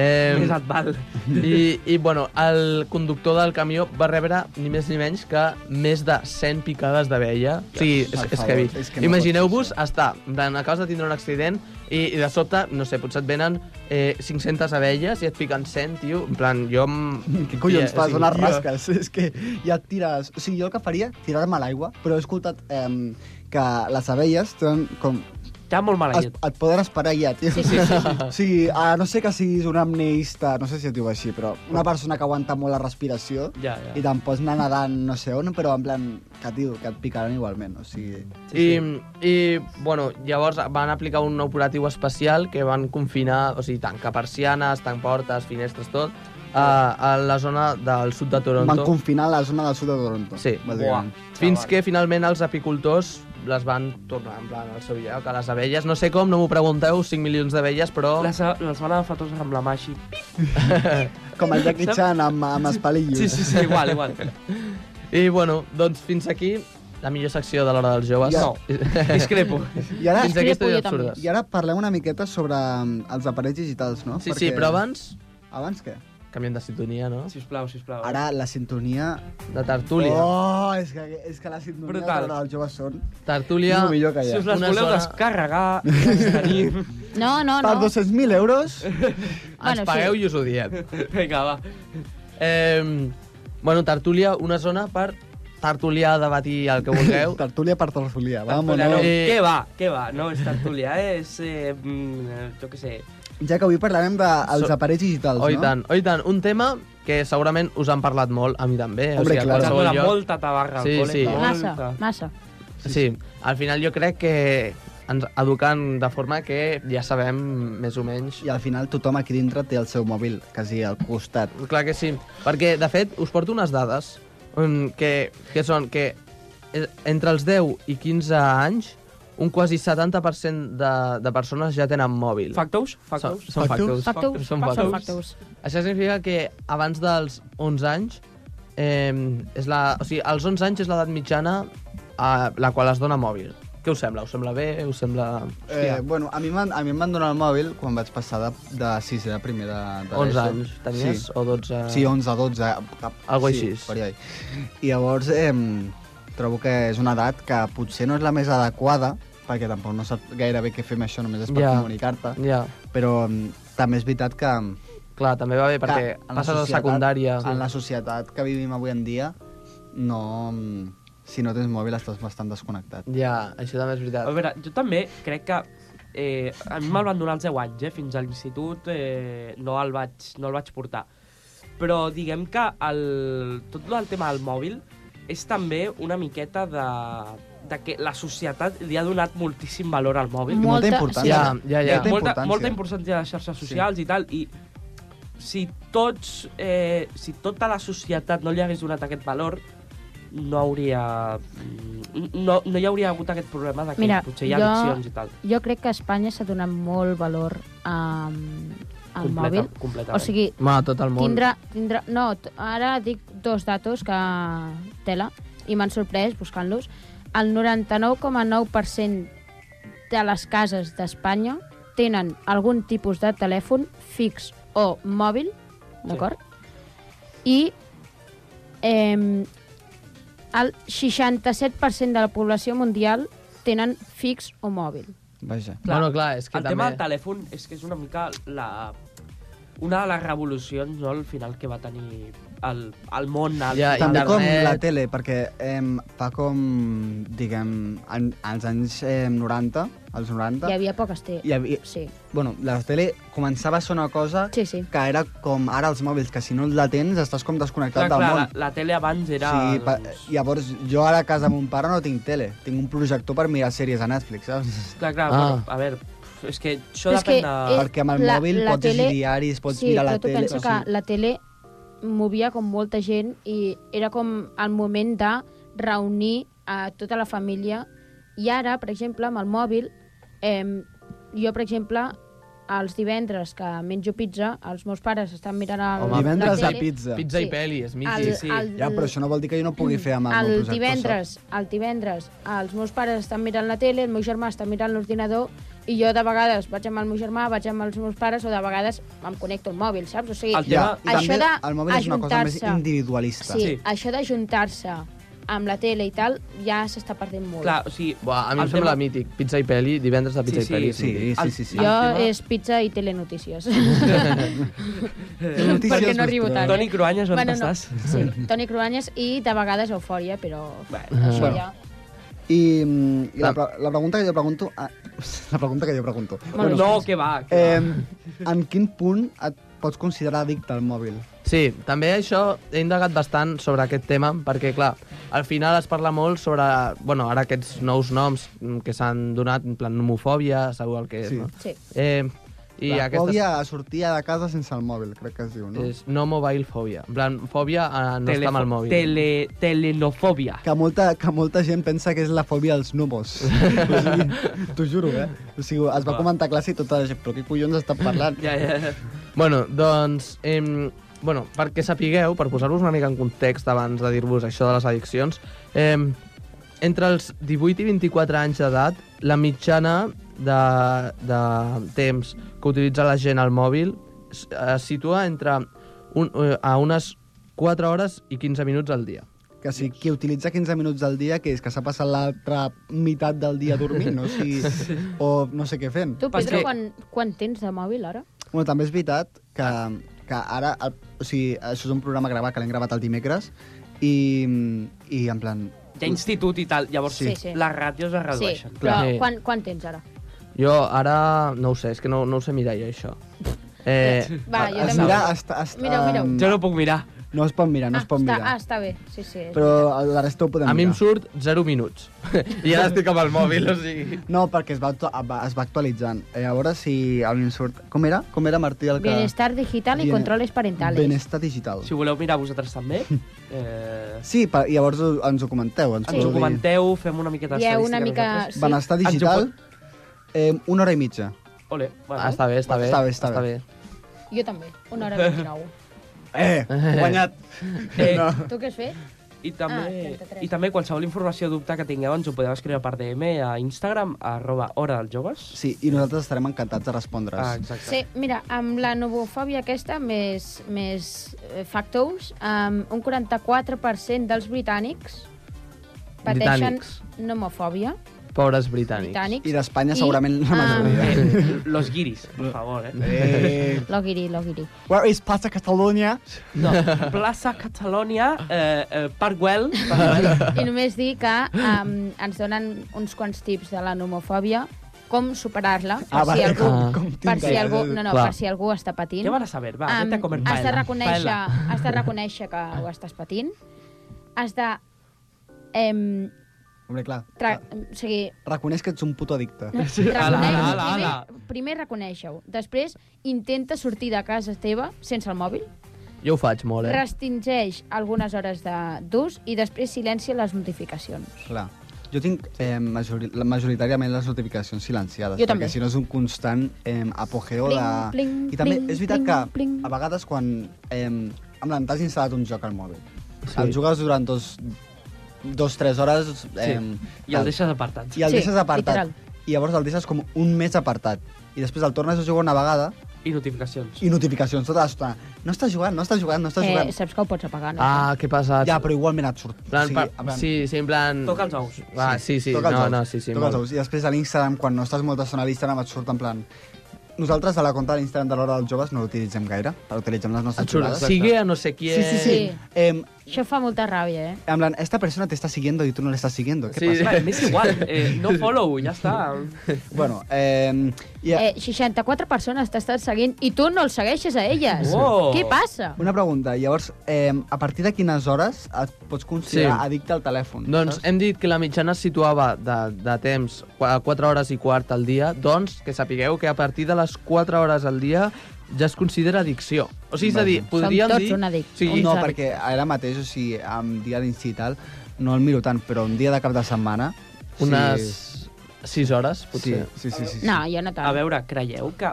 S6: Eh,
S7: Més et val.
S6: i, I, bueno, el conductor del camió va rebre ni més ni menys que més de 100 picades d'abella. O sigui, és,
S5: Per
S6: és
S5: favor,
S6: heavy.
S5: és que no
S6: Imagineu-vos
S5: pot
S6: estar, en plan, acabes de tindre un accident i, i de sobte, no sé, potser et venen eh, 500 abelles i et piquen 100, tio. En plan, jo... em-
S5: Què collons
S6: Tia,
S5: fas?
S6: sí,
S5: On les
S6: tio.
S5: rasques? És que ja et tires... O sigui, jo el que faria, tirar-me a l'aigua, però he escoltat eh, que les abelles tenen com
S7: Queda molt mala
S5: Es,
S7: llet.
S5: et poden esperar ja, tio.
S8: Sí, sí, sí, sí.
S5: O sigui, a no sé que siguis un amneista, no sé si es diu així, però una persona que aguanta molt la respiració
S7: Ja,
S5: i
S7: ja.
S5: te'n pots anar nedant no sé on, però en plan, que tio, que et picaran igualment, o sigui...
S6: I, I, bueno, llavors van aplicar un operatiu especial que van confinar, o sigui, tancar persianes, tancar portes, finestres, tot, a, a la zona del sud de Toronto.
S5: Van confinar a la zona del sud de Toronto.
S6: Sí.
S5: bàsicament.
S6: Fins que finalment els apicultors les van tornar en plan al seu lloc, a les abelles. No sé com, no m'ho pregunteu, 5 milions d'abelles, però...
S7: Les, les van agafar tots amb la mà així.
S5: Com el Jackie Chan amb, amb els palillos.
S7: Sí, sí, sí, igual, igual.
S6: I bueno, doncs fins aquí la millor secció de l'hora dels joves.
S5: Ja.
S7: No, discrepo.
S5: I ara,
S6: Fins aquí
S8: Discrepo jo
S6: estudis
S8: també.
S6: absurdes.
S5: I ara parlem una miqueta sobre mm, els aparells digitals, no?
S6: Sí, sí, però abans
S5: Abans què?
S6: canviem de sintonia, no?
S7: Sisplau, sisplau.
S5: Ara la sintonia...
S6: De tertúlia.
S5: Oh, és que, és que la sintonia
S7: Brutal.
S5: de els joves són...
S6: Tertúlia...
S5: És el millor que hi
S7: Si
S5: ha.
S7: us les
S6: Una
S7: voleu
S6: zona-
S7: descarregar, les tenim.
S8: No, no,
S5: Per
S8: no.
S5: 200.000 euros...
S8: Bueno,
S6: Ens
S8: sí.
S6: pagueu i us ho diem.
S7: Vinga, va.
S6: Eh, bueno, tertúlia, una zona per tertuliar, debatir el que vulgueu.
S5: Tertúlia per tertúlia. Vamos,
S7: Tertúlia, no.
S5: no?
S6: Eh,
S7: Què va? Què va? No és tertúlia, eh? és... Eh, mm, jo què sé.
S5: Ja que avui parlarem dels
S6: So-
S5: aparells digitals,
S6: Oi
S5: no?
S6: tant, oi tant. Un tema que segurament us han parlat molt, a mi també.
S5: Hombre, clar.
S6: a
S7: Ens
S6: qualsevol
S7: dona
S6: lloc.
S7: molta tabarra al
S6: Sí,
S7: col·le.
S6: sí.
S8: Massa, massa.
S6: Sí, al final jo crec que ens eduquen de forma que ja sabem més o menys.
S5: I al final tothom aquí dintre té el seu mòbil, quasi al costat.
S6: Clar que sí, perquè de fet us porto unes dades um, que, que són que eh, entre els 10 i 15 anys un quasi 70% de, de persones ja tenen mòbil.
S7: Factous?
S6: Són,
S7: Factous?
S6: són factors.
S8: Factous?
S6: Són
S8: Són
S6: factors.
S8: factous.
S6: Això significa que abans dels 11 anys, eh, és la, o sigui, als 11 anys és l'edat mitjana a la qual es dona mòbil. Què us sembla? Us sembla bé? Us sembla...
S5: Eh, bueno, a mi m'han a mi em van donar el mòbil quan vaig passar de, de sisè a primer de, de
S6: 11
S5: l'ESO.
S6: anys tenies?
S5: Sí,
S6: O 12?
S5: sí 11, 12... Cap,
S6: Algo
S5: sí,
S6: així.
S5: per allà. I llavors eh, trobo que és una edat que potser no és la més adequada, perquè tampoc no sap gaire bé què fem això, només és per
S6: Ja.
S5: comunicar-te,
S6: Ja,
S5: però mm, també és veritat que...
S6: clar, també va bé perquè
S5: que en
S6: passes a la
S5: societat-
S6: secundària.
S5: En la societat que vivim avui en dia, no... mm, Si no tens mòbil estàs bastant desconnectat.
S6: Ja, això també és
S7: A
S6: veritat.
S7: veure, jo també crec que eh, a mi me'l van donar als 10 anys, eh? fins a l'institut eh, no, el vaig, no el vaig portar. Però diguem que el, tot el tema del mòbil és també una miqueta de, de que la societat li ha donat moltíssim valor al mòbil.
S8: Molta-
S5: Molta importància.
S6: Ja, ja, ja.
S5: Molta
S7: molta,
S5: importància.
S7: molta importància a les xarxes socials sí. i tal, i si tots, eh, si tota la societat no li hagués donat aquest valor, no hauria... mm, No, no hi hauria hagut aquest problema de que
S8: Mira,
S7: potser hi ha
S8: jo-
S7: addiccions i tal.
S8: Jo crec que a Espanya s'ha donat molt valor um, al
S7: Completa-
S8: mòbil.
S7: Completament.
S8: O sigui,
S6: Ma, tot el món.
S8: tindrà... tindrà no, t- ara dic dos datos que tela i m'han sorprès buscant-los. El 99,9% de les cases d'Espanya tenen algun tipus de telèfon fix o mòbil, d'acord? I eh, el 67% de la població mundial tenen fix o mòbil.
S5: Vaja.
S6: Bueno, clar, és que
S7: el tema
S6: també...
S7: del telèfon és que és una mica la... Una de les revolucions, no?, al final que va tenir el, el món... El,
S6: Ja,
S7: el-
S5: També com
S6: Internet.
S5: la tele, perquè em, fa com, diguem, en, als anys em, 90, als 90,
S8: Hi havia poques té.
S5: hi havia,
S8: Sí,
S5: bueno, la tele començava a ser una cosa
S8: sí, sí.
S5: que era com ara els mòbils, que si no la tens estàs com desconnectat
S7: clar, clar,
S5: del
S7: la,
S5: món.
S7: la tele abans era...
S5: sí, pa,
S7: doncs,
S5: llavors, jo ara a casa mon pare no tinc tele, tinc un projector per mirar sèries a Netflix, saps?
S7: Clar, clar,
S6: Ah.
S7: bueno, a veure, pf, és que això
S8: És que
S7: depèn de...
S8: Eh,
S5: perquè amb el
S8: la-
S5: mòbil
S8: la
S5: pots llegir
S8: tele-
S5: diaris, pots
S8: sí,
S5: mirar la
S8: però tu
S5: tele...
S8: pensa que la tele movia com molta gent i era com el moment de reunir a tota la família i ara, per exemple, amb el mòbil eh, jo, per exemple, els divendres que menjo pizza, els meus pares estan mirant el,
S6: Home,
S8: la
S5: Divendres de
S8: tele.
S5: pizza.
S6: Pizza i
S8: Sí.
S6: peli, és
S8: El,
S6: mític.
S7: sí.
S8: el,
S5: Ja, però això no vol dir que jo no pugui fer amb el, meu
S8: el
S5: projector,
S8: divendres, el divendres, els meus pares estan mirant la tele, el meu germà està mirant l'ordinador i jo de vegades vaig amb el meu germà, vaig amb els meus pares o de vegades em connecto al mòbil, saps? O sigui,
S7: El
S5: Ja,
S7: tema-
S5: i també
S8: Això de
S5: el mòbil és una cosa més
S8: ajuntar-se.
S5: individualista.
S8: sí,
S7: Sí.
S8: això d'ajuntar-se amb la tele i tal ja s'està perdent molt.
S7: Clar, o sigui,
S6: Buah, a mi em
S7: el
S6: sembla
S7: tema-
S6: mític. Pizza i peli, divendres de pizza
S7: Sí,
S6: i peli.
S7: sí,
S6: és mític.
S5: Sí, sí, sí. sí.
S8: jo
S7: tema-
S8: és pizza i telenotícies.
S5: Notícies
S8: Perquè no
S5: més
S8: arribo tant.
S7: Toni Cruanyes, on
S8: Bueno,
S7: bueno,
S8: no.
S7: estàs?
S8: Sí, Toni Cruanyes i de vegades Eufòria, però...
S7: Bueno,
S8: això
S5: bueno.
S8: ja...
S5: I, mm, i la,
S6: Clar.
S5: pre- la pregunta que jo pregunto... A, la pregunta que jo pregunto.
S8: Molt bé.
S7: No, que va, que
S5: Eh,
S7: va.
S5: en quin punt et pots considerar addicte al mòbil?
S6: Sí, també això he indagat bastant sobre aquest tema, perquè, clar, al final es parla molt sobre, bueno, ara aquests nous noms mm, que s'han donat, en plan homofòbia, sabeu el que és,
S5: Sí.
S6: no?
S8: Sí.
S6: Eh, I
S5: la
S6: aquestes...
S5: fòbia a sortir de casa sense el mòbil, crec que es diu, no?
S6: És no mobile fòbia. En plan, fòbia a no estar amb el mòbil.
S7: Tele, telenofòbia.
S5: Que molta, que molta gent pensa que és la fòbia als núvols. o sigui, T'ho juro, eh? O sigui, es va comentar a classe i tota la gent, però què collons estan parlant?
S7: Ja, ja.
S6: Bueno, doncs... Eh, bueno, perquè sapigueu, per posar-vos una mica en context abans de dir-vos això de les addiccions, eh, entre els 18 i 24 anys d'edat, la mitjana de, de temps que utilitza la gent al mòbil es es situa entre un, eh, a unes 4 hores i 15 minuts al dia.
S5: Que si qui utilitza 15 minuts del dia, que és que s'ha passat l'altra meitat del dia dormint, no? O, sigui, o no sé què fent.
S8: Tu,
S7: Pas
S8: Pedro,
S7: que-
S8: quan, quan tens de mòbil, ara?
S5: Bueno, també és veritat que, que ara... El, o sigui, això és un programa gravat que l'hem gravat el dimecres i, i en plan...
S7: Hi ha institut i tal, llavors
S8: Sí, sí.
S7: les ràtios es
S8: Sí,
S7: redueixen.
S8: però
S6: Clar. Sí.
S8: quan, quan tens, ara?
S6: Jo ara no ho sé, és que no, no ho sé mirar jo, això. Eh,
S8: Va,
S6: a-
S8: jo
S6: a-
S8: també.
S5: mira, està, està,
S8: Mira, mira-ho.
S5: em,
S7: Jo no puc mirar.
S5: No es pot mirar, no
S8: ah,
S5: es pot
S8: està,
S5: mirar.
S8: Ah, està bé, sí, sí. és
S5: Però la resta ho podem
S6: A mi em
S5: mirar.
S6: surt 0 minuts. I ara estic amb el mòbil, o sigui...
S5: No, perquè es va, actua- va- es va actualitzant. Eh, a veure si a mi em surt... Com era? Com era, Martí, el que...
S8: Bienestar digital i
S5: Bien-
S8: controles parentales.
S5: Benestar digital.
S7: Si voleu mirar vosaltres també, eh,
S5: Sí, per, i llavors ho- ens ho comenteu. Ens
S7: ens
S5: podeu
S7: ho
S5: dir.
S7: comenteu, fem una miqueta
S8: Hi ha una
S7: d'estadística
S8: mica...
S7: nosaltres.
S8: Sí,
S5: Benestar
S7: Ens ho
S5: digital, eh, una hora i mitja.
S7: Ole, bueno.
S6: Ah, està bé, està bé.
S5: Està bé, està bé.
S8: jo també. Una hora 29.
S5: Eh, guanyat.
S7: Eh,
S8: tu què has fet?
S7: I també,
S8: Ah, 33.
S7: I també qualsevol informació o dubte que tingueu ens ho podeu escriure per DM a Instagram, arroba Hora dels Joves.
S5: Sí, i nosaltres estarem encantats de respondre's.
S7: Ah, exacte.
S8: Sí, mira, amb la novofòbia aquesta, més, més eh, factors, um, un 44% dels britànics pateixen
S6: Britànics.
S8: nomofòbia.
S6: Pobres britànics.
S8: Britànics.
S5: I d'Espanya segurament la majoria.
S7: Eh, Los guiris, por favor, eh?
S5: Eh,
S8: Logiri, logiri.
S5: where is Plaza Catalunya?
S7: No, Plaça Catalònia, eh, eh, Parkwell, Parkwell.
S8: I només dir que um, ens donen uns quants tips de la nomofòbia, com superar-la, per,
S5: Ah,
S8: si
S5: vale,
S8: algú,
S5: com- com
S8: per
S5: tinc
S8: si
S5: ganes.
S8: algú, no, no,
S6: Clar.
S8: per si algú està patint.
S7: Què van a saber? Va,
S8: Em,
S7: vete a comer
S8: has de
S7: paella.
S8: reconèixer,
S7: Paella.
S8: has de reconèixer que ho estàs patint. Has de... Em,
S5: Hombre, clar.
S8: tra... Mm. O sigui,
S5: Reconeix que ets un puto addicte.
S7: Ah. ala,
S8: reconeix-
S7: ala, ala, ala.
S8: Primer, primer reconeixeu. Després, intenta sortir de casa teva sense el mòbil.
S6: Jo ho faig molt, eh?
S8: Restringeix algunes hores de- d'ús i després silencia les notificacions.
S5: Clar. Jo tinc eh, majori la- majoritàriament les notificacions silenciades,
S8: Jo
S5: perquè
S8: també.
S5: si no és un constant eh, apogeo de...
S8: Pling, pling,
S5: I també
S8: pling,
S5: és veritat
S8: pling,
S5: que
S8: pling.
S5: a vegades quan... Eh, amb l'an t'has instal·lat un joc al mòbil. Sí.
S6: Sí.
S5: El jugues durant dos, dos tres hores... Eh,
S7: I el deixes apartat.
S5: I el
S8: Sí,
S5: deixes apartat.
S8: literal.
S5: I llavors el deixes com un mes apartat. I després el tornes a jugar una vegada
S7: I notificacions.
S5: i notificacions tota l'estona. No estàs jugant, no estàs jugant, no estàs
S8: Eh,
S5: jugant.
S8: saps que ho pots apagar, no?
S6: Ah, què passa?
S5: Ja, però igualment et surt. O
S6: Plan,
S5: sigui,
S6: per...
S5: en plan,
S6: sí, sí, en plan...
S7: Toca els ous.
S6: Va, sí, sí.
S5: Toca els
S6: no,
S5: ous,
S6: no, sí, sí.
S5: Toca els
S6: molt.
S5: ous. I després a l'Instagram, quan no estàs molta estona a l'Instagram, et surt en plan... Nosaltres a la conta de l'Instagram de l'Hora dels Joves no l'utilitzem gaire, la utilitzem les nostres
S6: Et surt,
S5: privades.
S6: sigue a no sé qui
S5: Sí, sí, sí.
S8: Sí.
S5: Em,
S8: Això fa molta ràbia, eh?
S5: en plan, esta persona te está siguiendo y tú no le estás siguiendo. ¿Qué
S6: Sí.
S5: pasa?
S7: Va, M'és igual, eh, no follow, ja està.
S5: Bueno, em, i,
S8: Eh, 64 persones t'estan seguint i tu no els segueixes a elles.
S7: Wow.
S8: Què passa?
S5: una pregunta. Llavors, em, a partir de quines hores et pots considerar
S6: Sí.
S5: addicte al telèfon?
S6: Doncs hem dit que la mitjana es situava de, de temps qu- a 4 hores i quart al dia, doncs que sapigueu que a partir de les 4 hores al dia ja es considera addicció. O sigui, és a dir,
S8: Som
S6: podríem
S8: tots
S6: dir...
S8: un addic-
S6: Sí,
S8: uns
S5: No,
S8: addictes.
S5: perquè ara mateix, o sigui, amb dia d'institut i tal, no el miro tant, però un dia de cap de setmana...
S6: unes 6 hores,
S5: Sí,
S6: potser.
S5: sí, sí, sí, sí.
S8: No, jo no tant.
S7: A veure, creieu que...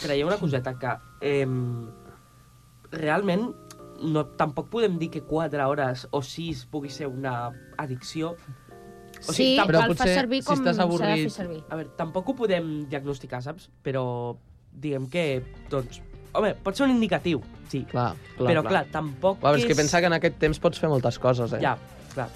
S7: Creieu una coseta que... Eh, realment no, tampoc podem dir que 4 hores o 6 pugui ser una addicció. o sigui,
S8: sí,
S7: tam-
S8: però
S7: però
S8: cal
S6: potser
S8: fer servir
S6: si
S8: com
S6: estàs
S8: s'ha de fer
S6: avorrit-
S8: servir.
S7: A veure, tampoc ho podem diagnosticar, saps? Però diguem que, doncs... Home, pot ser un indicatiu, sí.
S6: Clar, clar,
S7: però, clar, tampoc
S6: Clar, però és que pensa que en aquest temps pots fer moltes coses, eh?
S7: Ja, clar.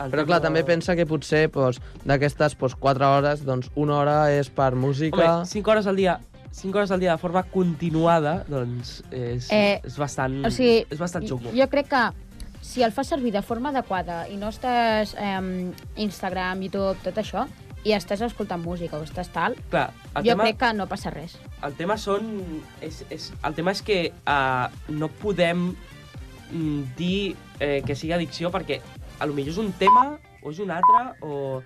S7: El
S6: Però clar,
S7: tema-
S6: també pensa que potser doncs, d'aquestes doncs, 4 hores, doncs una hora és per
S7: Home,
S6: música...
S7: 5 hores al dia, 5 hores al dia de forma continuada, doncs és,
S8: Eh,
S7: és bastant...
S8: O sigui,
S7: és bastant xungo.
S8: jo crec que si el fas servir de forma adequada i no estàs eh, Instagram, YouTube, tot això, i estàs escoltant música o estàs tal,
S7: Clar,
S8: jo
S7: el tema,
S8: crec que no passa res.
S7: el tema són... És, és, el tema és que uh, no podem mm, dir eh, que sigui addicció perquè a lo millor és un tema o és un altre o...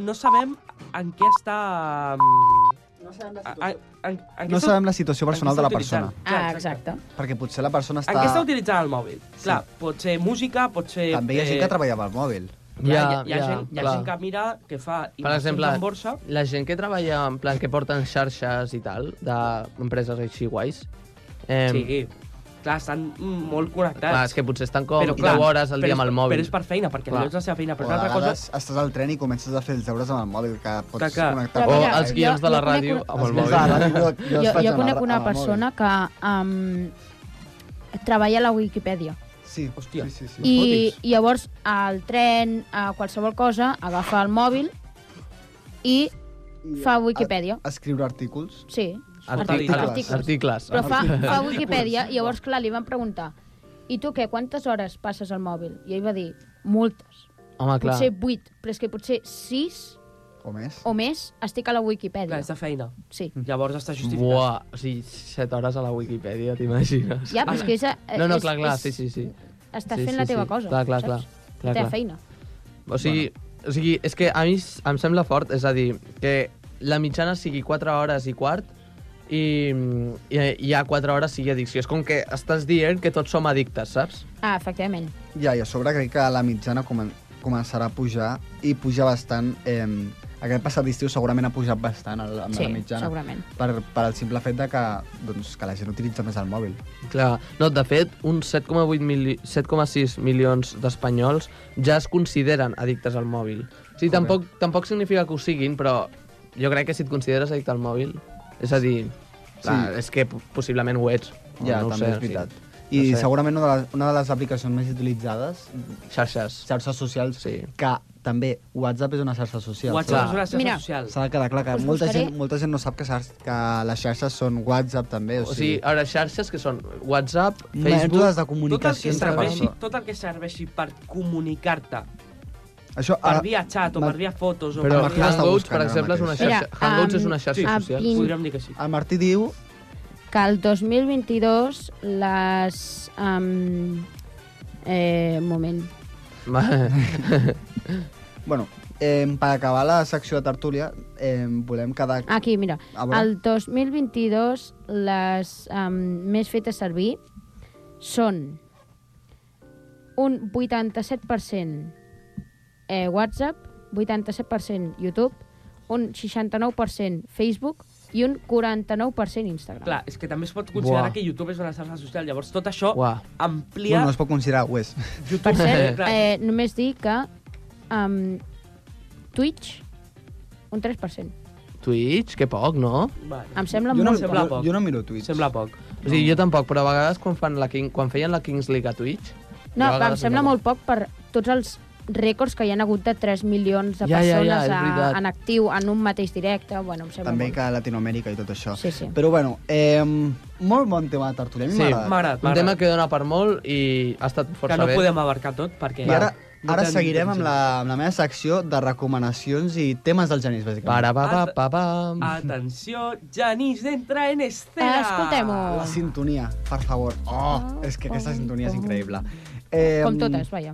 S7: No sabem en què està... No sabem la situació. En, en, en
S5: No sabem la situació personal de la persona.
S8: Ah, exacte.
S5: Perquè potser la persona
S7: En què està
S5: està...
S7: utilitzant el mòbil? Clar, pot ser música, pot ser...
S5: També hi ha gent
S7: eh,
S5: que treballa amb el mòbil.
S7: Hi ha, hi ha, gent, hi ha
S6: clar.
S7: gent que mira, que fa
S6: Per
S7: inversions
S6: exemple,
S7: en borsa...
S6: la gent que treballa en plan que porten xarxes i tal, d'empreses així guais, eh,
S7: Sí, clar, estan mm, molt connectats.
S6: clar, és que potser estan com 10
S7: clar,
S6: hores al
S7: però
S6: dia
S7: és-
S6: amb el mòbil.
S7: Però és per feina, perquè
S6: Clar.
S7: clar. no és la seva feina.
S5: O
S7: Però
S5: de
S7: una altra
S5: vegades
S7: cosa...
S5: estàs al tren i comences a fer els deures amb el mòbil, que pots
S7: Que- que-
S5: connectar...
S8: Però
S6: O
S8: mira,
S6: els guions
S8: jo-
S6: de la
S8: jo conec
S6: ràdio
S8: una-
S6: amb el
S5: Els guions de la
S6: mòbil.
S5: ràdio, jo- jo
S8: Jo,
S5: els faig
S8: jo
S5: amb
S8: conec
S5: el-
S8: una
S5: amb el
S8: persona que um, treballa a la Wikipeèdia
S5: mòbil. Sí,
S7: Hòstia.
S5: sí, sí. sí.
S8: i llavors al tren, a qualsevol cosa, agafa el mòbil i fa Wikipedia.
S5: A, escriure artículos.
S8: Sí,
S6: Articles. Articles.
S8: articles.
S6: Articles.
S8: Però fa, fa Wikipedia, i llavors, clar, li van preguntar i tu què, quantes hores passes al mòbil? I ell va dir, moltes.
S6: Home, Ah, clar.
S8: Potser 8, però és que potser 6
S5: O més.
S8: o més estic a la
S7: Clar,
S8: Wikipedia.
S7: és de feina.
S8: Sí.
S7: Llavors està justificat.
S6: Buah, o sigui, 7 hores a la Wikipedia, t'imagines?
S8: Ja, però és que és... eh,
S6: No, no,
S8: és-
S6: clar, clar,
S8: és-
S6: sí, sí, sí.
S8: Estàs
S6: Sí,
S8: fent
S6: sí,
S8: la teva
S6: sí.
S8: cosa,
S6: Clar, clar,
S8: saps?
S6: clar.
S8: La
S6: clar,
S8: teva
S6: clar.
S8: feina.
S6: O sigui, o sigui, és que a mi s- em sembla fort, és a dir, que la mitjana sigui 4 hores i quart i, i, i a 4 hores sigui addicció. És com que estàs dient que tots som addictes, saps?
S8: Ah, efectivament.
S5: Ja, i a sobre crec que la mitjana comen començarà a pujar i puja bastant. Eh, aquest passat estiu segurament ha pujat bastant el, amb
S8: Sí,
S5: la mitjana.
S8: segurament.
S5: Per, per el simple fet de que, doncs, que la gent utilitza més el mòbil.
S6: Clar, no, de fet, uns 7,8 mili 7,6 milions d'espanyols ja es consideren addictes al mòbil. O sigui, tampoc, tampoc significa que ho siguin, però jo crec que si et consideres addicte al mòbil, és a dir, clar, és que po- possiblement ho ets. o
S5: ja,
S6: no ho
S5: també
S6: sé,
S5: és veritat. I
S6: No sé.
S5: segurament una de, les, una de les aplicacions més utilitzades,
S6: Sí. Xarxes.
S5: xarxes socials,
S6: Sí.
S5: que també WhatsApp és una xarxa social.
S7: WhatsApp
S6: Clar.
S7: és una xarxa
S8: Mira.
S7: social.
S5: S'ha de quedar clar que
S8: Us
S5: molta,
S8: buscaré-
S5: gent, molta gent no sap que, xar que les xarxes són WhatsApp també, o,
S6: O sigui, ara, xarxes que són WhatsApp, Facebook...
S5: mètodes de
S7: Tot el, que
S5: comunicació entre
S7: serveixi,
S5: persones.
S7: tot el que serveixi per comunicar-te,
S5: Això,
S7: per
S5: ara-
S7: via xat o
S5: ma-
S7: per via fotos o
S6: Però
S5: El
S7: per
S5: Martí
S7: via...
S5: l'està
S6: Hangouts,
S5: buscant
S6: per
S5: ara
S6: exemple, és una
S5: mateix.
S6: xarxa...
S8: Mira,
S6: Hangouts és
S8: um,
S6: una xarxa
S8: a
S6: social.
S8: vint-
S7: Podríem dir que sí.
S5: El Martí diu
S8: Que el 2022 les... Um, eh, un moment.
S5: Bueno, eh, per acabar la secció de tertúlia, eh, volem quedar...
S7: Ah,
S8: Aquí, mira.
S5: A veure.
S8: El 2022 les um, més fetes servir són un 87% eh, WhatsApp, 87% YouTube, un 69% Facebook i un 49% Instagram.
S7: Clar, és que també es pot considerar
S6: Buah.
S7: que YouTube és una xarxa social. Llavors, tot això
S6: Uah.
S7: amplia...
S5: Bueno, no es pot considerar, ho és.
S7: YouTube.
S8: Per cert,
S7: Clar,
S8: eh, només dir que um, Twitch, un 3%.
S6: Twitch, que poc, no?
S7: bueno,
S8: Em sembla
S5: jo, no,
S8: molt...
S7: sembla
S5: jo,
S7: poc.
S5: jo no miro Twitch.
S7: Sembla poc.
S6: O sigui, jo tampoc, però a vegades quan, fan la King, quan feien la Kings League a Twitch...
S8: No,
S6: jo a
S8: em
S6: vegades
S8: sembla
S6: em
S8: molt poc per tots els rècords que hi han hagut de 3 milions de
S6: Ja, ja, ja,
S8: persones
S6: és
S8: a-
S6: veritat.
S8: en actiu en un mateix directe. Bueno, em sembla
S5: També
S8: molt.
S5: que a Latinoamèrica i tot això.
S8: Sí, sí.
S5: Però bueno, eh, molt bon tema de tertúlia. A mi
S6: Sí,
S5: m'agrada.
S7: M'agrada,
S6: Un tema
S7: m'agrada.
S6: que dona per molt i ha estat
S7: Que
S6: força
S7: no
S6: bé.
S7: podem abarcar tot, perquè...
S5: I ara,
S7: no
S5: ara
S7: tenim
S5: seguirem amb
S7: temps. eh.
S5: la, amb la meva secció de recomanacions i temes del Genís, bàsicament.
S6: Para, pa, pa, pa, pa.
S5: ah,
S7: Atenció, Janís entra en escena.
S8: Escoltem-ho.
S5: La sintonia, per favor. Oh, és que aquesta sintonia és increïble. Eh,
S8: Ah, Com totes, vaja.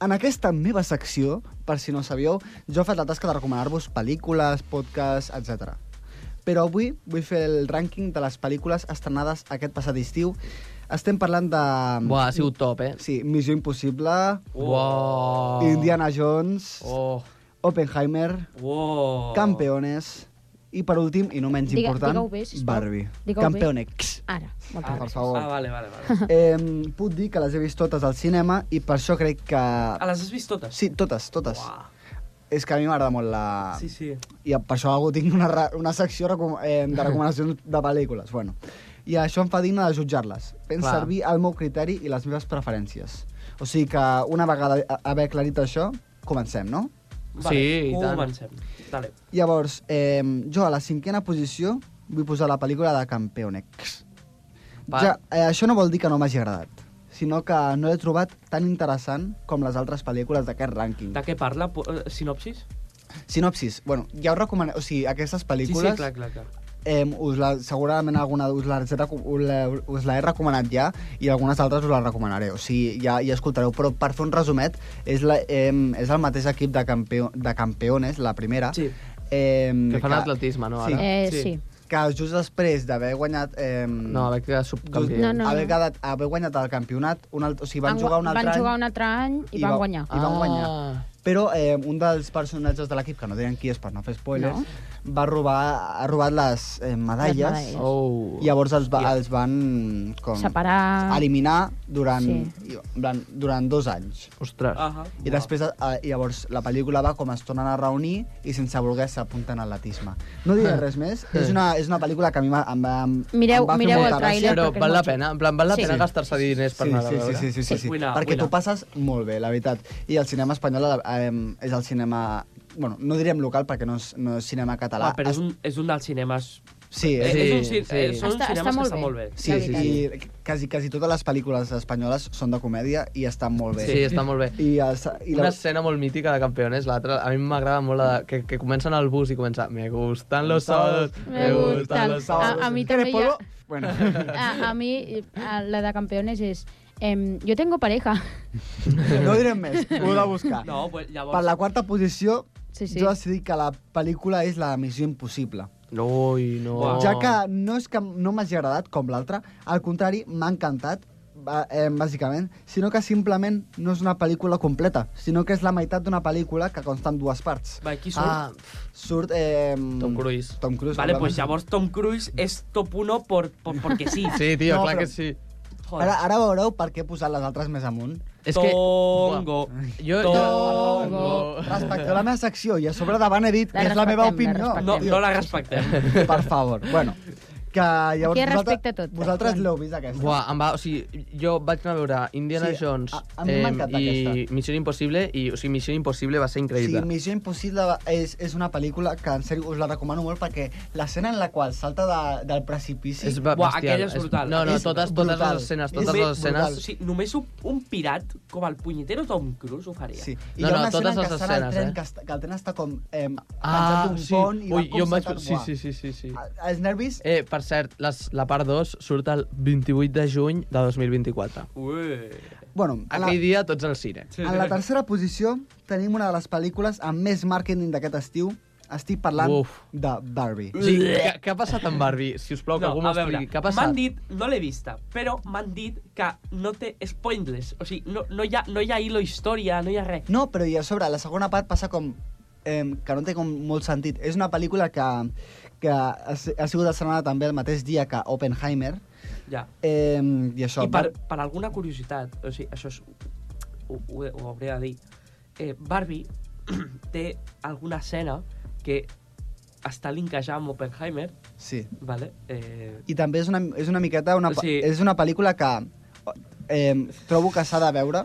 S5: En aquesta meva secció, per si no ho sabíeu, jo he fet la tasca de recomanar-vos pel·lícules, podcasts, etc. Però avui vull fer el rànquing de les pel·lícules estrenades aquest passat estiu. Estem parlant de...
S6: Buah, ha sigut top, eh?
S5: ah. Sí, Missió Impossible,
S6: Buah.
S5: Indiana Jones,
S6: Oh.
S5: Oppenheimer,
S7: Wow.
S5: Campeones i per últim, i no menys
S8: Digue-
S5: important,
S8: digue-ho bé, sisplau.
S5: Barbie.
S8: Digue-ho bé.
S5: Campeonex.
S8: Ara, moltes
S5: Ah, per
S8: gràcies.
S5: favor.
S7: Ah, vale, vale, vale.
S5: Eh, puc dir que les he vist totes al cinema i per això crec que...
S7: Ah, les has vist totes?
S5: Sí, totes, totes. Ah.
S7: Uah.
S5: És que a mi m'agrada molt la...
S7: Sí, sí.
S5: I per això algú tinc una, ra- una secció recom eh, de recomanacions de pel·lícules. Bueno. I això em fa digne de jutjar-les. Fent
S6: Clar.
S5: servir el meu criteri i les meves preferències. O sigui que una vegada a- haver aclarit això, comencem, no?
S7: Vale,
S6: Sí, i tant.
S7: Comencem. Dale.
S5: Llavors, eh, jo a la cinquena posició vull posar la pel·lícula de Campeonex.
S6: Va.
S5: Ja, eh, això no vol dir que no m'hagi agradat. sinó que no l'he trobat tan interessant com les altres pel·lícules d'aquest rànquing.
S7: De què parla? Po- eh, Sinopsis?
S5: Sinopsis. Bueno, ja us recomano... O sigui, aquestes
S7: Sí,
S5: pel·lícules...
S7: sí, clar, clar, clar.
S5: Eh, us la, segurament alguna us la, us, la, us la he recomanat ja i algunes altres us la recomanaré, o sigui, ja, ja escoltareu. Però per fer un resumet, és, la, eh, és el mateix equip de, campeo, de campeones, la primera,
S7: Sí.
S5: eh,
S6: Que fan atletisme, no,
S5: Sí.
S6: ara?
S8: Eh, sí. sí.
S5: que just després d'haver guanyat... Eh,
S6: No, a veure que
S5: just,
S6: subcampió.
S8: No, no.
S5: haver, quedat, haver guanyat el campionat, un alt, o sigui, van
S8: gu-
S5: jugar un altre
S8: van
S5: any...
S8: jugar un altre any i,
S5: i
S8: van
S5: va- ah,
S8: guanyar.
S5: i van guanyar.
S6: Ah.
S5: Però eh, un dels personatges de l'equip, que no direm qui és per no fer spoilers,
S8: No.
S5: no. va robar, ha robat les eh, medalles,
S8: Les medalles.
S6: Oh.
S5: i llavors els, va,
S6: Hòstia.
S5: els van com,
S8: Separar...
S5: eliminar durant,
S8: Sí.
S5: sí. durant dos anys.
S6: Ostres.
S7: Ahà.
S5: I després, eh, i llavors, la pel·lícula va com es tornen a reunir i sense voler s'apunten a atletisme. No diré res més. És una, és una pel·lícula que a mi m'ha- em va, em,
S8: Mireu-
S5: em va fer
S8: mireu
S5: molta
S8: el
S5: gràcia.
S8: tràiler.
S6: Però
S8: perquè és
S6: val la
S8: molt
S6: pena, en plan, val la
S8: Sí.
S6: pena gastar-se diners per
S5: sí,
S6: anar a
S5: sí,
S6: veure.
S5: sí, sí, sí, sí, sí.
S7: Buena,
S5: perquè
S7: buena.
S5: t'ho passes molt bé, la veritat. I el cinema espanyol eh, és el cinema... Bueno, no diríem local perquè no és, no és cinema català.
S7: Ah, però és un, és un dels cinemes...
S5: Sí,
S7: Eh,
S5: és...
S7: és un, cin-
S6: sí.
S7: eh, són
S8: Està-
S7: uns cinemes
S8: està
S7: que
S8: molt bé.
S7: estan molt bé.
S5: Sí,
S8: la
S5: sí, sí. I Quasi, quasi totes les pel·lícules espanyoles són de comèdia i estan molt bé.
S6: Sí, està molt bé.
S5: I, els, i
S6: Una
S5: la...
S6: escena molt mítica de Campeones, l'altra, a mi m'agrada molt la de, que, que comencen al bus i comença Me gustan los sábados, me
S8: Me
S6: gustan
S8: gustan.
S6: los
S8: A,
S6: sábados.
S8: a mi
S5: ¿Quieres
S8: també hi ha...
S5: polvo? Bueno,
S8: Ah, A, a mi, a, la de campeones és... Em, yo tengo pareja.
S5: no direm més, ho heu de buscar.
S7: No, pues, llavors...
S5: Per la quarta posició,
S8: Sí, sí.
S5: jo decidic que la pel·lícula és la Missió Impossible.
S7: Ah.
S6: Ui, no.
S5: Ja que no és que no m'hagi agradat com l'altra, al contrari, m'ha encantat, ba- eh, bàsicament, sinó que simplement no és una pel·lícula completa, sinó que és la meitat d'una pel·lícula que consta en dues parts.
S7: Va, qui surt?
S5: Ah, surt... Eh,
S6: Tom Cruise.
S5: Tom Cruise.
S7: Vale, pues
S5: segurament.
S7: llavors Tom Cruise és top 1 por, por, porque sí.
S6: Sí, tio,
S5: No,
S6: clar
S5: però-
S6: que sí.
S7: Joder.
S5: Ara, ara veureu per què he posat les altres més amunt.
S6: És que...
S7: Tongo.
S6: Jo,
S7: Tongo.
S5: Respecte a la meva secció i a sobre davant he dit
S8: La
S5: que és la meva
S8: respectem, la
S5: opinió.
S7: No,
S5: tio.
S7: no la respectem.
S5: Per favor. Bueno, que llavors...
S8: Aquí es
S5: vosaltres-
S8: respecta tot.
S5: Vosaltres l'heu vist, aquesta.
S6: Buah, em va, o sigui, jo vaig anar a veure Indiana
S5: Sí,
S6: Jones
S5: a- a mi m'ha encantat
S6: i
S5: aquesta.
S6: Missió Impossible, i o sigui, Missió Impossible va ser
S5: Sí,
S6: increïble.
S5: Missió Impossible és, és una pel·lícula que, en sèrio, us la recomano molt perquè l'escena en la qual salta de, del precipici...
S6: És ba-
S7: Buah,
S6: bestial,
S7: aquella és brutal.
S6: No, no,
S5: És
S6: totes, totes
S5: brutal.
S6: les escenes,
S5: És
S6: totes
S5: bé
S6: les escenes...
S5: brutal.
S7: O sigui, només un, un pirat com el punyetero Tom Cruise ho faria.
S5: Sí. I
S6: No,
S5: hi ha
S6: no,
S5: una escena
S6: totes
S5: en
S6: les
S5: què està en el
S6: escenes,
S5: tren,
S6: eh? Ah,
S5: que, està, que el tren està com eh, penjat d'un
S6: sí.
S5: pont i
S6: Ui,
S5: va
S6: jo
S5: com
S6: em vaig...
S5: saltar-
S6: Sí,
S5: Buah.
S6: sí, sí, sí, sí.
S5: A- Els nervis...
S6: Eh, per cert, les, la part 2 surt el 28 de juny de 2024.
S7: Ui.
S5: Bueno, a la,
S6: Aquell dia tots al cine.
S5: en la tercera posició tenim una de les pel·lícules amb més màrqueting d'aquest estiu. Estic parlant
S6: Uf.
S5: de Barbie.
S6: O sigui, què, què ha passat amb Barbie? Si us plau, que
S7: No,
S6: algú
S7: a veure,
S6: m'expliqui. Què ha
S7: m'han
S6: passat?
S7: dit, no l'he vista, però m'han dit que no té... És pointless. O sigui, no, no, hi ha, no hi ha hilo història, no hi ha res.
S5: No, però i a sobre, la segona part passa com... Eh, que no té com molt sentit. És una pel·lícula que, que ha, si- ha sigut estrenada també el mateix dia que Oppenheimer.
S7: Ja.
S5: Eh, I això...
S7: I per, per alguna curiositat, o sigui, això és, ho, ho, ho hauré de dir, eh, Barbie té alguna escena que està linkejada amb Oppenheimer,
S5: Sí.
S7: vale? Eh,
S5: I també és una, és una miqueta... Una,
S7: Sí.
S5: sí. És una pel·lícula que eh, trobo que s'ha de veure.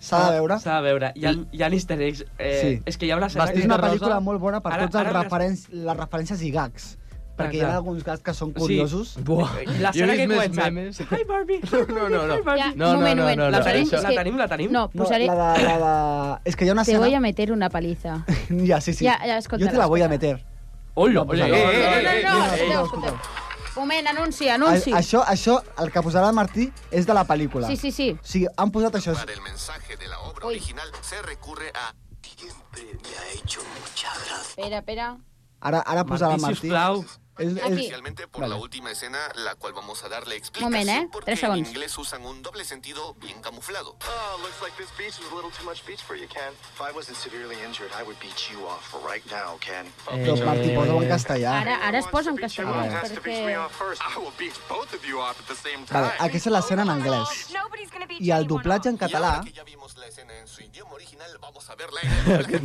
S5: S'ha de veure.
S7: Ah, S'ha de veure. Hi ha, hi ha easter eggs. Eh,
S5: Sí.
S7: És que hi ha una escena...
S5: És
S7: que
S5: una
S7: rosa-
S5: pel·lícula molt bona per
S7: Ara-
S5: tots els
S7: ara
S5: referen les referències i gags. Perquè hi
S7: clar.
S5: ha alguns gags que són
S7: Sí.
S5: curiosos.
S6: Buah,
S7: La
S6: jo he
S7: escena
S6: vist
S7: que
S6: més
S7: comença...
S6: memes.
S7: Hi Barbie! hi
S6: No,
S7: Barbie,
S6: no, no, no.
S7: hi Barbie".
S8: Ja,
S6: No, no,
S8: un moment,
S6: no,
S8: un moment.
S6: no,
S7: La,
S6: no,
S8: Espera,
S7: tenim,
S6: això-
S8: és
S7: la
S8: que-
S7: tenim, la tenim?
S8: No,
S5: No,
S8: posaré...
S5: la de, la de... És que hi ha una
S8: Te
S5: escena...
S8: voy a meter una paliza.
S5: Ja, sí, sí.
S8: Ja, ja, escolta,
S5: Jo te la voy a
S8: escolta.
S5: meter.
S7: Hola,
S5: No,
S7: hola,
S5: no,
S7: eh,
S5: no,
S7: eh,
S8: No,
S7: eh,
S8: no,
S7: eh,
S8: no,
S7: eh.
S8: escolteu, escolteu. Moment, anunci,
S5: A,
S8: anunci.
S5: això, això, el que posarà el Martí és de la pel·lícula.
S8: Sí, sí, sí.
S5: O sigui, han posat això.
S10: Para el mensaje de la obra
S8: Uy.
S10: original se recurre a... Siempre me ha hecho mucha gracia.
S8: Espera, espera.
S5: Ara, ara posarà el Martí.
S7: Martí, sisplau.
S5: És,
S8: Aquí.
S10: Especialmente por la última escena, la cual vamos a darle explicación
S8: Moment, eh?
S10: porque
S8: Tres
S10: en
S8: segons.
S10: inglés usan un doble sentido bien camuflado.
S11: Oh, looks like this beach is a little too much beach for you, Ken. If I wasn't severely injured, I would beat you off right now, Ken.
S5: Però Martí, posa-ho en castellà.
S8: Ara, ara es posa en
S11: Who
S5: Ah,
S8: castellà,
S11: wants to beat me
S8: perquè...
S11: off first?
S10: I will beat both of you off at the same time.
S5: Vale, aquesta és l'escena en anglès. I el doblatge en
S10: Y ahora
S5: català...
S10: que ya vimos la escena en su idioma original, vamos a verla en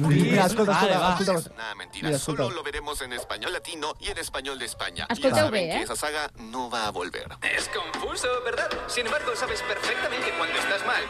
S5: Mira, escolta,
S7: Vale,
S5: escolta,
S7: va.
S5: escolta.
S10: Es una mentira,
S5: Mira, escolta.
S10: solo lo veremos en español latino y en español de España. Y
S8: Escolteu
S10: ya saben
S8: bé, eh?
S10: que esa saga no va a volver.
S9: Es confuso, ¿verdad? Sin embargo, sabes perfectamente cuando estás mal.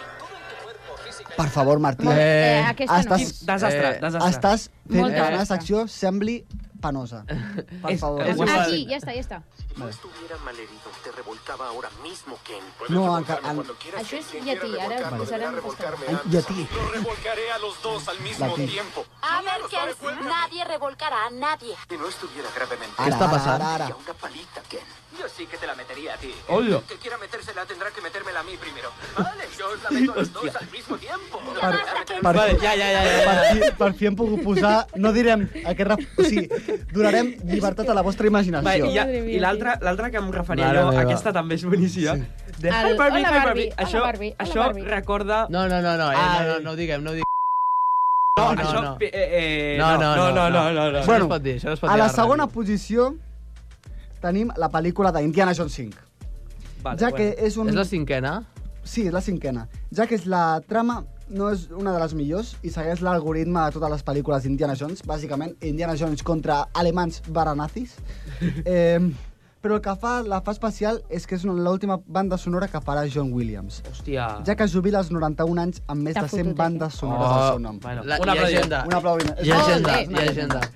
S5: Per favor, Martí.
S8: Moment,
S6: Eh,
S8: eh, aquesta no.
S5: ah, estàs-
S7: Desastre,
S6: Eh,
S7: desastre.
S5: Estàs fent
S8: Molta
S5: que la meva
S8: gràcia.
S5: secció sembli panosa. Per
S7: És-
S5: favor.
S7: és-
S8: Ah, sí, ja està, ja està.
S10: Si no estuviera malherido, te revolcaba ahora mismo, Ken.
S5: No, encara... En...
S8: Això és llatí, ara
S5: Vale.
S8: posarem aquesta.
S5: Ai, I a ti.
S9: Los revolcaré a los dos al mismo
S5: Latín.
S9: tiempo.
S12: A ver, Ken, nadie revolcará a nadie.
S10: Si no estuviera gravemente.
S5: Ara,
S6: està
S5: ara,
S6: passant?
S5: Ara, ara.
S10: Y a una palita, Ken.
S9: Yo sí que te la metería a ti.
S7: Hola.
S9: El que quiera metérsela tendrá que metérmela a mí primero. Vale, yo os la meto a los dos al mismo tiempo.
S5: Per,
S6: Vale, ja, ja, ja, ja.
S5: per, fi, per fi hem pogut posar... No direm aquest... Ref... O sigui, donarem llibertat a la vostra
S7: Va,
S5: imaginació.
S7: i, ja,
S8: Madre mia,
S7: i l'altra l'altra que em referia
S6: Mare
S7: jo,
S6: meva.
S7: aquesta també és boníssima. De,
S8: El-
S7: hi, Barbie,
S8: Hola,
S7: hi,
S8: Barbie, hola,
S7: Això,
S8: Barbie, hola,
S7: això
S8: Barbie.
S7: recorda...
S6: No, no, no, no, eh,
S7: Ai.
S6: no, no, no ho diguem, no ho diguem.
S7: no,
S6: no,
S7: això,
S6: no.
S7: Eh, eh,
S6: No, no, no,
S7: no, no, no, no.
S6: Això
S5: Bueno,
S6: no es pot dir, això no es pot
S5: A
S6: dir.
S5: la
S6: ara,
S5: segona
S6: Ramiro.
S5: posició tenim la pel·lícula d'Indiana Jones 5.
S7: Vale,
S5: ja que
S7: bueno.
S5: és un...
S6: És la cinquena?
S5: Sí, és la cinquena. Ja que és la trama no és una de les millors i segueix l'algoritme de totes les pel·lícules d'Indiana Jones, bàsicament Indiana Jones contra alemans baranazis. Eh, però el que fa, la fa especial és que és una- l'última banda sonora que farà John Williams,
S7: Hòstia...
S5: eh,
S6: Ah.
S5: ja que es jubila als 91 anys amb més
S8: T'ha
S5: de 100
S8: fotut,
S5: bandes
S8: eh?
S5: sonores
S6: Oh,
S5: al seu nom.
S7: Bueno,
S6: La,
S7: un
S6: hi ha
S7: aplaudiment.
S6: agenda.
S5: Un aplaudiment.
S6: Hi ha
S8: Molt
S6: agenda,
S8: bé.
S6: hi ha agenda.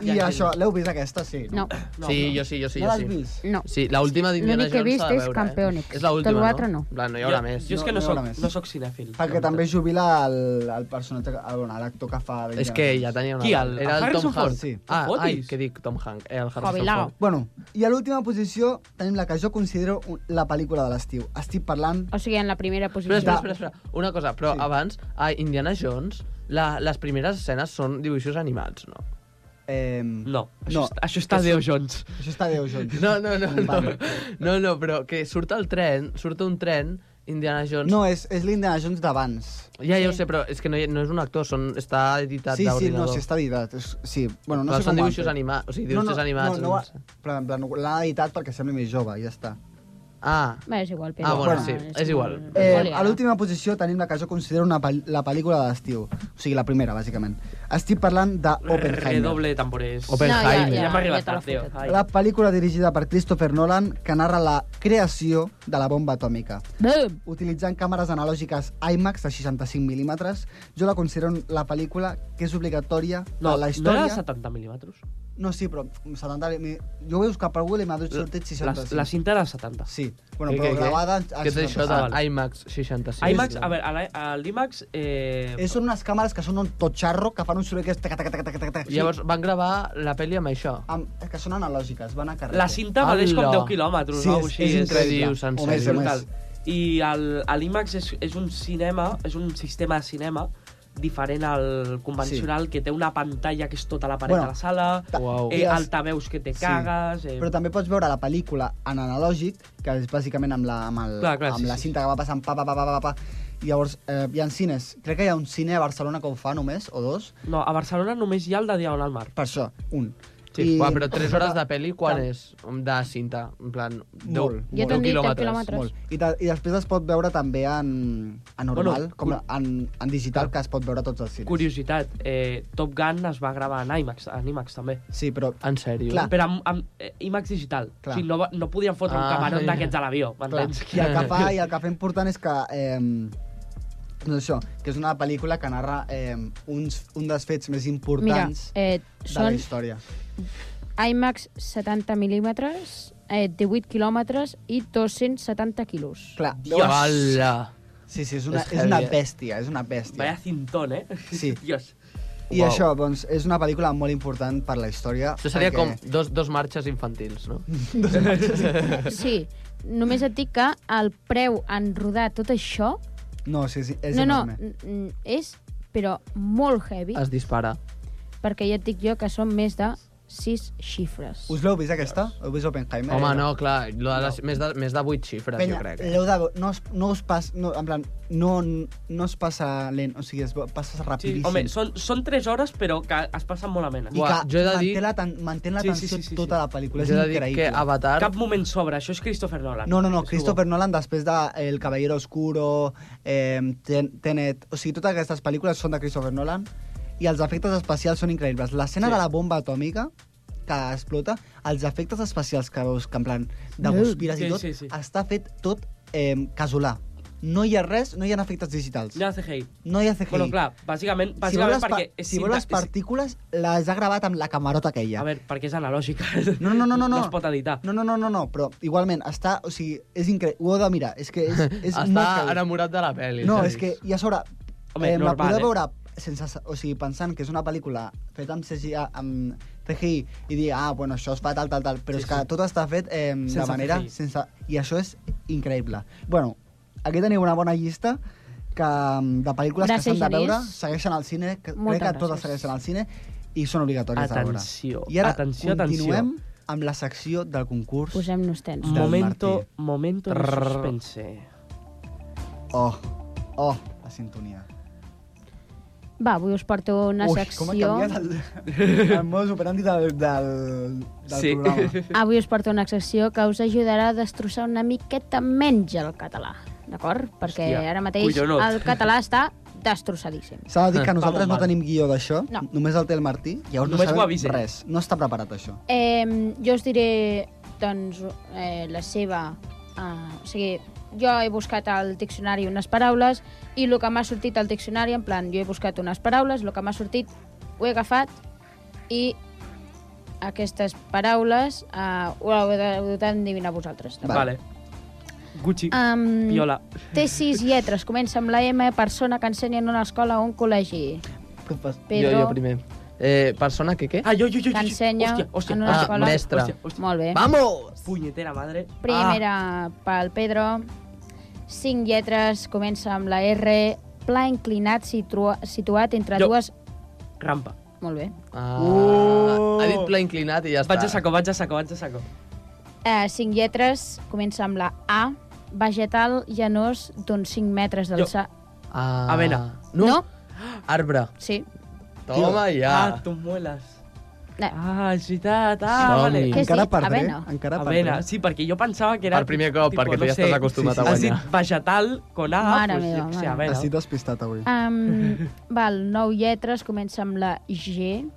S5: I això, l'heu vist aquesta? Sí.
S8: No,
S6: Sí, jo sí, jo sí,
S5: No
S6: jo
S5: l'has
S6: sí.
S5: vist?
S8: no.
S6: Sí, l'última d'Indiana
S8: L'únic que he
S6: Jones s'ha de
S8: vist és
S6: veure, eh?
S8: Campeonex.
S6: És l'última,
S8: Tot l'altre no.
S6: En plan, no hi haurà
S7: Jo-
S6: més.
S7: Jo és que
S5: No, no
S7: no,
S5: hi
S7: soc,
S5: haurà més.
S7: no soc cinèfil.
S5: Perquè també es jubila el, el personatge, el, bueno, l'actor que fa...
S6: És que ja tenia una...
S7: Qui, el-
S6: Era
S7: el
S6: el Tom
S7: Harrison Ford?
S6: Hanks.
S5: Sí.
S6: Ah,
S7: Fotis.
S6: ai, què dic Tom Hanks? Eh, el Harrison
S8: Jubilao.
S6: Ford.
S5: Bueno, i a l'última posició tenim la que jo considero un- la pel·lícula de l'estiu. Estic parlant...
S8: O sigui, en la primera posició.
S6: Espera, espera, espera, espera. Una cosa, però
S5: Sí.
S6: abans, a Indiana Jones, la, les primeres escenes són dibuixos animats, no?
S5: Eh,
S7: No,
S5: No,
S7: això, està- això està Déu Jones.
S5: Això està Déu, Jones.
S6: No, no, no, no.
S5: Vale.
S6: No, no, però que surt el tren, surt un tren, Indiana Jones...
S5: No, és, és l'Indiana Jones d'abans.
S6: Ja, ja ho sé, però és que no, hi- no és un actor, són, està editat
S5: Sí, sí, no,
S6: d'ordinador.
S5: sí, està editat. És, sí, bueno, no
S6: Però
S5: sé com ho
S6: són
S5: han
S6: dibuixos
S5: fet.
S6: anima- o sigui, dibuixos animats,
S5: No, no,
S6: no sé.
S5: no, però en plan, l'han editat perquè sembli més jove, i ja està.
S6: Ah,
S8: Bé, és igual, però...
S6: Ah, bueno,
S5: Bueno.
S6: sí, és igual.
S5: Eh,
S8: Molt
S5: a l'última posició tenim la que jo considero una pel- la pel·lícula de l'estiu. O sigui, la primera, bàsicament. Estic parlant d'Oppenheimer.
S7: Redoble de tambores.
S6: Oppenheimer.
S8: No, ja, ja,
S7: ja m'ha arribat
S8: ja te l'ha
S7: tard, Déu.
S8: fotut.
S7: Ai.
S5: La pel·lícula dirigida per Christopher Nolan que narra la creació de la bomba atòmica.
S8: Boom!
S5: Utilitzant càmeres analògiques IMAX de 65 mil·límetres, jo la considero la pel·lícula que és obligatòria
S7: No,
S5: a la
S7: no era
S5: història...
S7: de 70 mil·límetres?
S5: No, sí, però 70... mi- Jo ho he buscat per Google i m'ha dit sortit
S7: La,
S5: 65.
S7: la cinta era de 70.
S5: Sí, bueno, però gravada... a
S6: Què és
S5: 65.
S6: això
S7: Ah, vale.
S6: d'IMAX 65?
S7: IMAX, a veure, a la- a l'IMAX... Eh,
S5: Eh, Són unes càmeres que són un tot xarro, que fan un soroll que és... Taca, taca, taca, taca, taca,
S6: I Llavors van gravar la pel·li amb això.
S5: Amb, que són analògiques, van a carrer.
S7: la cinta valeix com
S6: Hola.
S7: 10 quilòmetres,
S5: Sí,
S7: o
S5: és-
S7: alguna cosa
S5: és
S7: així.
S5: increïble.
S6: Dius, en
S5: O
S7: és
S5: més, o
S6: sèrio?
S7: brutal.
S5: més.
S7: I el- a l'IMAX és, és un cinema, és un sistema de cinema diferent al convencional, sí. que té una pantalla que és tota la paret
S5: Bueno,
S7: bueno, de la sala,
S5: ta-
S6: Uau.
S7: eh,
S5: i es-
S7: altaveus que te
S5: Sí.
S7: cagues... Eh,
S5: Però també pots veure la pel·lícula en analògic, que és bàsicament amb la, amb el,
S7: Clar, clar,
S5: amb
S7: sí,
S5: la
S7: sí,
S5: cinta que va passant pa, pa, pa, pa, pa, pa. I llavors eh, hi ha cines. Crec que hi ha un cine a Barcelona que ho fa només, o dos.
S7: No, a Barcelona només hi ha el de Diagonal Mar.
S5: Per això, un.
S6: Sí, Uah, però 3 hores de pel·li, quan
S5: Tant.
S6: és? De cinta, en plan, 10,
S5: Molt,
S8: Jo
S5: molt.
S8: t'han dit 10
S6: quilòmetres.
S8: quilòmetres.
S5: Molt. I, ta, I després es pot veure també en, en normal,
S7: Bueno,
S5: com
S7: cur-
S5: en, en digital, que es pot veure a tots els cines.
S7: Curiositat, eh, Top Gun es va gravar en IMAX, en IMAX també.
S5: Sí, però...
S6: En sèrio?
S5: Clar.
S7: Però amb, amb eh, IMAX digital.
S5: Clar.
S7: O sigui, no, va- no podien fotre ah, un
S6: Ah,
S7: camarón
S6: ja.
S7: d'aquests a l'avió,
S5: Clar,
S7: m'entens?
S5: I el que fa, i el que fa important és que... Eh, doncs això, que és una pel·lícula que narra eh, uns, un dels fets més
S8: Mira,
S5: importants
S8: eh,
S5: de la
S8: són
S5: història.
S8: IMAX 70 mil·límetres, eh, 18 quilòmetres i 270 quilos.
S5: Clar,
S6: Dios. Hola.
S5: Sí, sí, és una,
S6: És
S5: és una
S6: heavy, eh?
S5: bèstia, és una bèstia.
S7: Vaya cintón, eh?
S5: Sí.
S7: Dios.
S5: I
S6: Uau.
S5: això, doncs, és una pel·lícula molt important per la història.
S6: Això seria com
S5: perquè- Mm.
S6: dos, dos marxes infantils, no?
S8: Sí, només et dic que el preu en rodar tot això...
S5: No, sí, sí, és
S8: no, no,
S5: enorme.
S8: n- n- és però molt heavy,
S6: Es dispara.
S8: perquè ja et dic jo que són més de 6 xifres.
S5: Us l'heu vist, aquesta? Heu vist Oppenheimer?
S6: Home, no, clar, lo de les, més, de, més de 8 xifres,
S5: Penya,
S6: jo crec. eh.
S5: l'heu de... ve- No, es- no us pas... No, en plan, no, no es passa lent, o sigui, es va- passa
S7: Sí,
S5: rapidíssim.
S7: home, són, són 3 hores, però que es passen molt amenes.
S5: I
S6: Buah,
S5: que
S6: jo he de
S5: manté
S6: dir-
S5: la, ten, manté la
S7: Sí,
S5: tensió
S7: sí, sí, sí,
S5: tota
S7: sí.
S5: la pel·lícula, és
S6: Jo he de dir
S5: increïble.
S6: que Avatar...
S7: Cap moment sobre, això és Christopher Nolan.
S5: No, no, no,
S7: Ah, És
S5: Christopher Nolan després de El Caballero Oscuro, eh, Ten- Tenet... O sigui, totes aquestes pel·lícules són de Christopher Nolan i els efectes especials són increïbles. L'escena
S7: Sí.
S5: de la bomba atòmica que explota, els efectes especials que veus, que en plan de guspires
S7: Sí,
S5: i tot,
S7: sí, sí.
S5: està fet tot eh, casolà.
S7: guapo.
S5: no hi ha res, no hi ha efectes digitals.
S7: No hi ha CGI.
S5: No hi ha CGI.
S7: Bueno, clar,
S5: si
S7: bàsicament,
S5: vol
S7: bàsicament
S5: les,
S7: perquè...
S5: pa si vol les partícules, les ha gravat amb la camarota aquella.
S7: A veure, perquè és analògica.
S5: No, no, no, no, no.
S7: No es pot editar.
S5: No, no, no, no, no, però igualment, està... O sigui, és increïble. Ho heu de mirar. És que és, és
S6: Està
S5: molt heavy.
S6: enamorat de la pel·li.
S5: No,
S6: saps?
S5: és que, i a sobre,
S6: Home,
S5: eh, la
S6: normal,
S5: podeu
S6: eh?
S5: veure sense, o sigui, pensant que és una pel·lícula feta amb CGI, amb CGI i dir, ah, bueno, això es fa tal, tal, tal, però
S13: Sí,
S5: és que
S13: sí.
S5: tot està fet eh, de
S13: Sense
S5: manera...
S13: CGI.
S5: Sense, I això és increïble. Bueno, aquí teniu una bona llista que, mm, de pel·lícules
S13: Gràcies,
S5: que s'han de
S13: Genís.
S5: veure, segueixen al cine, que,
S13: Moltes
S5: crec que totes
S13: gràcies.
S5: segueixen al cine i són obligatòries a veure.
S7: Atenció,
S5: I ara
S7: atenció, atenció.
S5: continuem amb la secció del concurs.
S8: Posem-nos tens.
S5: del
S7: Momento,
S5: Martí.
S7: momento de
S5: Trrr.
S7: suspense.
S5: Oh, oh, la sintonia.
S8: Va, avui us porto una
S5: Ui,
S8: secció...
S5: com ha canviat el, el modus operandi del, del, del
S7: Sí.
S5: programa.
S8: Avui us porto una secció que us ajudarà a destrossar una miqueta menys el català, d'acord? Perquè
S5: Hòstia,
S8: ara mateix
S5: collonot.
S8: el català està destrossadíssim.
S5: S'ha de dir que nosaltres no
S8: mal.
S5: tenim guió d'això,
S8: No.
S5: només el té el Martí, llavors
S7: Només ho
S5: no
S7: avisen.
S5: sabem res. No està preparat, això.
S8: Eh, jo us diré, doncs, eh, la seva... Eh, o sigui, jo he buscat al diccionari unes paraules i el que m'ha sortit al diccionari, en plan, jo he buscat unes paraules, el que m'ha sortit ho he agafat i aquestes paraules eh, ho heu de- heu d'endevinar vosaltres. d'acord?
S7: Vale. Gucci,
S8: Em,
S7: Viola.
S8: Té sis lletres, comença amb la M, persona que ensenya en una escola o un col·legi. Pedro.
S6: Jo, jo primer. Eh, persona que què?
S7: Ah, jo, jo, jo.
S8: Que ensenya
S7: Hòstia, hòstia.
S8: en una
S6: Ah,
S8: escola.
S6: mestre.
S7: Hòstia, hòstia.
S8: Molt bé.
S6: Vamos!
S7: Punyetera madre.
S8: Primera pel Pedro. Cinc lletres, comença amb la R, pla inclinat situa situat entre
S7: Jo.
S8: dues...
S7: Ah, Rampa.
S8: Molt bé.
S6: Ah,
S7: Uh!
S6: Ha dit pla inclinat i ja està.
S7: Vaig a saco, vaig a saco, vaig a saco.
S8: Eh, cinc lletres, comença amb la A, vegetal llanós d'uns 5 metres d'alçada.
S6: Ah,
S7: Avena.
S6: No.
S8: No?
S6: Arbre.
S8: Sí.
S6: Toma ja.
S7: Ah, tus mueles.
S8: No.
S7: Ah, és veritat.
S6: Som-hi.
S7: Ah, vale.
S6: Què has Encara dit? perdré, Avena.
S5: encara
S7: Avena, sí, perquè jo pensava que era...
S6: Per primer cop, perquè tu ja estàs acostumat a
S7: Has
S6: guanyar.
S7: dit vegetal con A,
S8: Mare
S7: pues,
S8: meva,
S7: jo que sé,
S8: mare.
S7: avena.
S5: Estic despistat avui.
S8: Um, val, nou lletres, comença amb la G.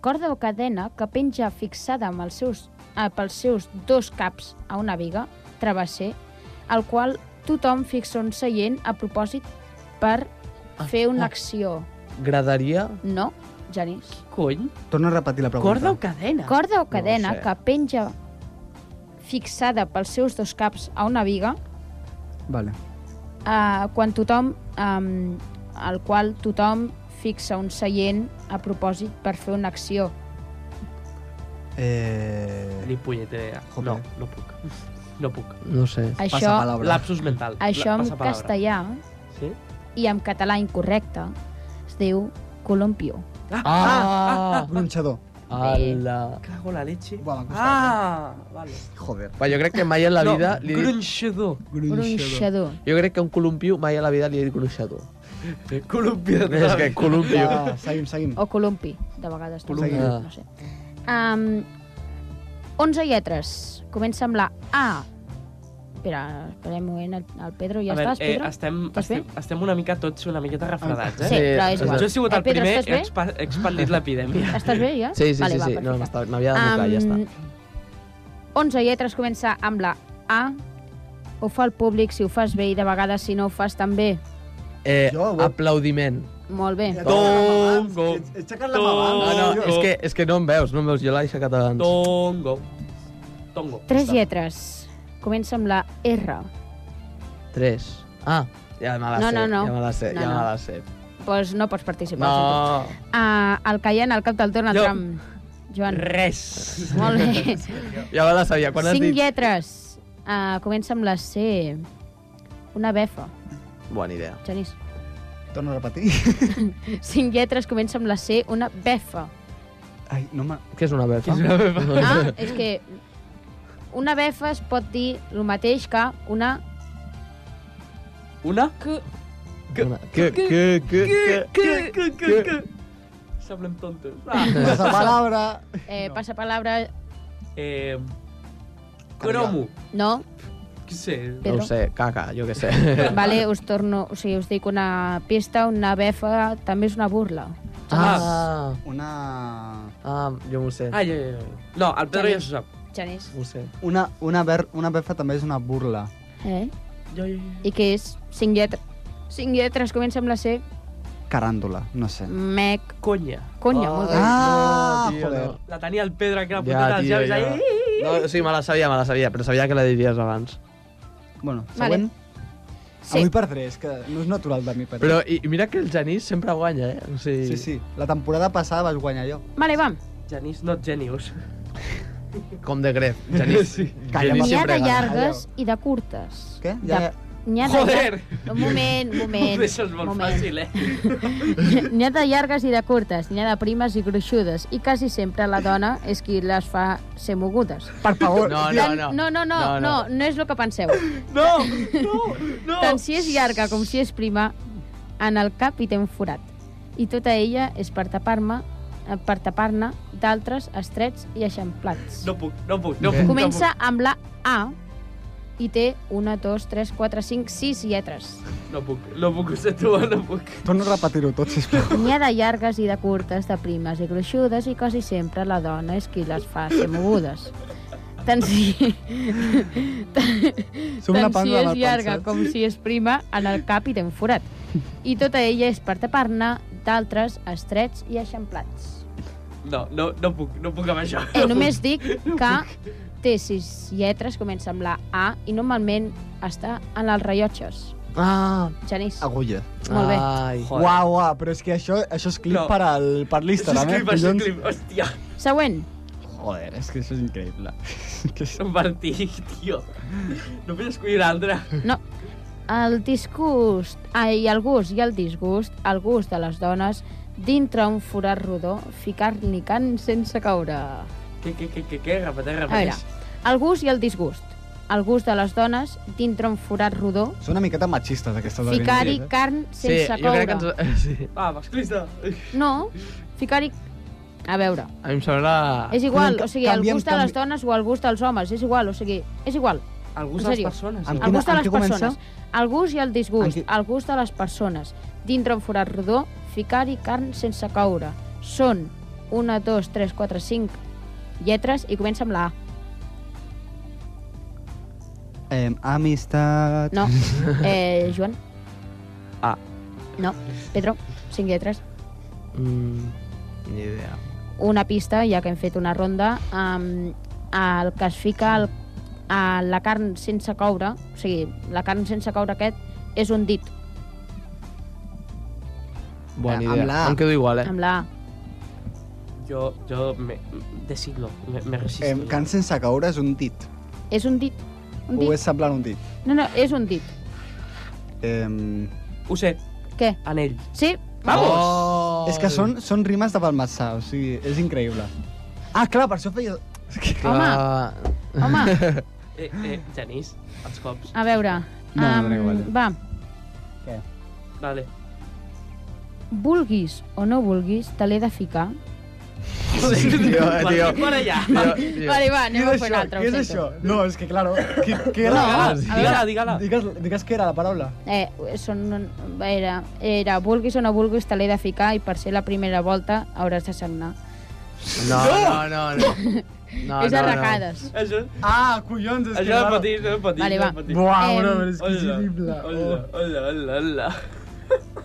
S8: Corda o cadena que penja fixada amb els seus, eh, pels seus dos caps a una viga, travesser, al qual tothom fixa un seient a propòsit per fer una acció.
S6: Gradaria?
S8: No, Genís.
S7: Cony?
S5: Torna a repetir la pregunta.
S8: Corda o
S7: cadena?
S8: Corda o
S5: ho
S8: cadena
S5: sé.
S8: que penja fixada pels seus dos caps a una viga,
S5: Vale.
S8: eh, quan tothom, eh, al qual tothom fixa un seient a propòsit per fer una acció.
S5: Eh...
S7: Ni punyetera idea. No, no puc. No puc.
S6: No sé.
S8: Això- Passapalabra.
S7: Lapsus mental.
S8: Això
S7: La-
S8: en
S7: passapalabra.
S8: castellà
S7: Sí?
S8: i en català incorrecte es diu colompió.
S7: Ah!
S6: ah,
S5: Gronxador.
S6: Ala.
S7: Cago la leche.
S5: Buah, m'ha
S7: Ah, vale.
S5: Joder.
S6: Va, jo crec que mai a la
S7: No,
S6: vida... li he dit-
S7: Gronxador.
S8: Gronxador.
S6: Jo crec que un columpio mai a la vida li he dit gronxador.
S7: Columpio.
S6: És que columpio.
S5: Va, seguim, seguim.
S8: O colompi, de vegades. també,
S6: Colompi.
S8: No sé. Um, 11 lletres. Comença amb la A. Espera, espera un moment, el, el Pedro ja
S7: a veure,
S8: estàs, Pedro?
S7: eh, estem,
S8: Estàs bé?
S7: estem, estem una mica tots una miqueta refredats, eh?
S8: Sí, però és igual.
S7: Jo he sigut
S8: Eh,
S7: el
S8: Pedro,
S7: primer,
S8: estàs bé?
S7: he expa- he expandit l'epidèmia.
S8: Estàs bé, ja?
S6: Sí, sí,
S8: Vale,
S6: sí.
S8: va,
S6: sí. No,
S8: perfecte.
S6: m'estava- m'havia de mocar, ja està.
S8: Am, 11 lletres comença amb la A. Ho fa el públic si ho fas bé i de vegades si no ho fas tan bé.
S6: Eh, aplaudiment.
S8: Molt bé.
S6: Tongo.
S5: He aixecat
S8: la mà abans.
S6: Ah, No, no,
S8: Tongo.
S6: és que, és que no em veus, no em veus. Jo l'he aixecat abans.
S7: Tongo. Tongo.
S8: Tres lletres. Comença amb la R.
S6: Tres. Ah, ja me la
S8: No,
S6: sé.
S8: no, no.
S6: Ja me la sé,
S8: No,
S6: ja
S8: no.
S6: me la sé.
S8: Doncs no pots participar.
S6: No.
S8: ho sento. Ah, el que hi ha en el cap del Donald
S6: Jo-
S8: Trump. Joan.
S7: Res.
S8: Molt bé.
S6: Ja me la sabia. Quan has
S8: Cinc
S6: dit...
S8: lletres. Ah, comença amb la C. Una befa.
S6: Bona idea.
S8: Genís.
S5: Torna a repetir.
S8: Cinc lletres comença amb la C. Una befa.
S5: Ai, no me...
S6: Què és una befa?
S5: Què és una befa?
S8: Ah, és que una befa es pot dir el mateix que una...
S7: Una?
S8: Que...
S6: Que, que, que, que, que,
S7: que, que, que. Semblem tontos. Ah.
S5: Passa palabra.
S8: Eh, passa palabra...
S7: Eh, cromo.
S8: No?
S7: Què sé?
S6: No
S8: Pedro.
S6: ho sé, caca, jo què sé.
S8: Vale, us torno... O sigui, us dic una pista, una befa, també és una burla.
S6: Ah,
S5: Una...
S6: ah jo m'ho sé.
S7: Ah, jo, jo, jo. No, el Pedro ja s'ho sap.
S8: Genís.
S6: M'ho sé.
S5: Una, una, ber, una befa també és una burla.
S8: Eh?
S7: Jo, jo,
S8: i que és cinc, lletres. cinc lletres, comença amb la C.
S5: Caràndula, no sé.
S8: Mec.
S7: Conya.
S8: Conya, molt bé.
S5: Ah,
S6: tio,
S5: joder.
S6: no.
S7: La tenia el Pedro que era
S6: Ja,
S7: puntet als
S6: tio,
S7: llavis.
S6: ja.
S7: ahí.
S6: No, sí, me la sabia, me la sabia, però sabia que la diries abans.
S5: Bueno,
S8: Vale.
S5: següent.
S8: Sí.
S5: Avui perdré, és que no és natural de mi perdre.
S6: Però i, i mira que el Genís sempre guanya, eh? O sigui...
S5: Sí, sí. La temporada passada vaig guanyar jo.
S8: Vale, vam.
S7: Genís, not genius.
S6: Com de gref. Genís, sí.
S5: Calla, va.
S6: Genís
S8: N'hi ha
S6: sempre
S8: de
S6: gana.
S8: llargues i de curtes.
S5: Què? Ja,
S8: De- N'hi ha de...
S7: Joder!
S8: Un moment, un
S7: Ho
S8: moment.
S7: deixes molt
S8: moment.
S7: fàcil, eh?
S8: N'hi ha de llargues i de curtes, n'hi ha de primes i gruixudes, i quasi sempre la dona és qui les fa ser mogudes.
S5: Per favor.
S6: No, no,
S8: Tant-
S6: no.
S8: no, no, no, no, no és el que penseu.
S7: No, no, no.
S8: Tant si és llarga com si és prima, en el cap hi té un forat. I tota ella és per tapar-me eh, per tapar-ne d'altres estrets i eixamplats.
S7: No puc, no puc, no
S6: Bé.
S7: puc.
S8: Comença amb la A i té una, dos, tres, quatre, cinc, sis lletres.
S7: No puc, no puc, no puc, ho sento, no puc.
S5: Torna a repetir-ho tot, sisplau.
S8: N'hi ha de llargues i de curtes, de primes i gruixudes, i quasi sempre la dona és qui les fa ser mogudes. Tant si...
S5: Som una
S8: Tant si
S5: panda
S8: és
S5: mal
S8: llarga
S5: pensats.
S8: com si és prima, en el cap hi té un forat. I tota ella és per tapar-ne d'altres estrets i eixamplats.
S7: No, no, no puc, no puc amb això.
S8: Eh, només dic que té sis lletres, comença amb la A, i normalment està en els rellotges.
S6: Ah,
S8: Genís,
S5: Agulla.
S8: molt bé.
S6: Ai.
S7: Joder.
S5: Uau, uau, però és que això, això és clip
S7: No.
S5: no. per, al, per
S7: Això és
S5: l'Instagram, eh?
S7: clip, això és
S5: collons.
S7: clip, hòstia.
S8: Següent.
S5: Joder, és que això és increïble. que és...
S7: Martí, tio. No vull escollir una altra.
S8: No. El disgust, ai, el gust i el disgust, el gust de les dones, dintre un forat rodó, ficar-n'hi can sense caure.
S7: Què, què, què, què, què? Repeteix,
S8: A veure,
S7: repeteix.
S8: el gust i el disgust. El gust de les dones, dintre un forat rodó,
S5: Són una miqueta machistes, aquestes de
S8: ficar-hi
S5: Benítez,
S8: carn
S6: eh? Sí,
S8: sense
S6: jo
S8: coure.
S6: crec que ens... Sí.
S7: Ah, masclista.
S8: No, ficar-hi... A veure,
S6: A mi em sembla...
S8: és igual,
S5: Però
S8: o sigui, el
S5: canviem-
S8: gust de les
S5: canvi-
S8: dones o el gust dels homes, és igual, o sigui, és igual.
S7: El gust
S8: En
S7: de les
S8: sèrio?
S7: persones. eh.
S5: Amb
S7: no?
S8: El
S5: Quina-
S8: gust de les
S5: què comença?
S8: persones. El gust i el disgust.
S5: Amb qui-
S8: El gust de les persones. Dintre un forat rodó, ficar-hi carn sense coure. Són 1, 2, 3, 4, 5 lletres i comença amb la A.
S5: Eh? Em, amistat...
S8: No. Eh, Joan?
S6: A.
S8: No. Pedro? 5 lletres.
S6: Mm, ni idea.
S8: Una pista, ja que hem fet una ronda, amb el que es fica el, a la carn sense coure, o sigui, la carn sense coure aquest és un dit,
S6: Bona
S5: Eh,
S6: idea.
S5: amb la A.
S6: Em quedo igual, eh?
S8: Ah, amb la A.
S7: Jo, jo me, de siglo, me, me resisto.
S5: Em, can sense caure és un dit.
S8: És un dit. Un
S5: O
S8: dit.
S5: és semblant a un dit.
S8: No, no, és un dit.
S5: Em...
S7: Ho sé,
S8: Què?
S7: anell.
S8: Sí? Oh.
S6: Vamos!
S5: És que són, són rimes de palmassà, o sigui, és increïble. Ah, clar, per això feia...
S6: Clar.
S5: Oh.
S8: Home,
S7: Eh, eh, Genís, els cops.
S8: a veure.
S5: No, no,
S8: em,
S5: dona igual.
S8: va,
S7: Vale.
S8: vulguis o no vulguis, te l'he de ficar.
S6: Sí, tio, tio.
S7: Martí, para allà.
S6: Tio, tio.
S8: Vale, va, anem
S5: Què
S8: a
S5: és
S8: fer
S5: això?
S8: una altra,
S5: Què
S8: ho
S5: és això?
S8: sento.
S5: No, és que, claro, què, què era?
S6: Ah, sí.
S7: Digue-la, digue-la.
S5: Digues, digues què era la paraula.
S8: Eh, són, era, era, vulguis o no vulguis, te l'he de ficar i per ser la primera volta hauràs de sagnar.
S6: No, no, no, no. No,
S8: és
S6: no,
S8: arracades.
S7: Això,
S5: Ah, collons, és
S7: això de patir, això de patir, això de
S8: Vale, va.
S7: patir.
S5: Buah,
S8: Em,
S5: bro, però és que és Oh,
S7: Hola,
S5: increïble.
S7: hola, hola, hola, hola.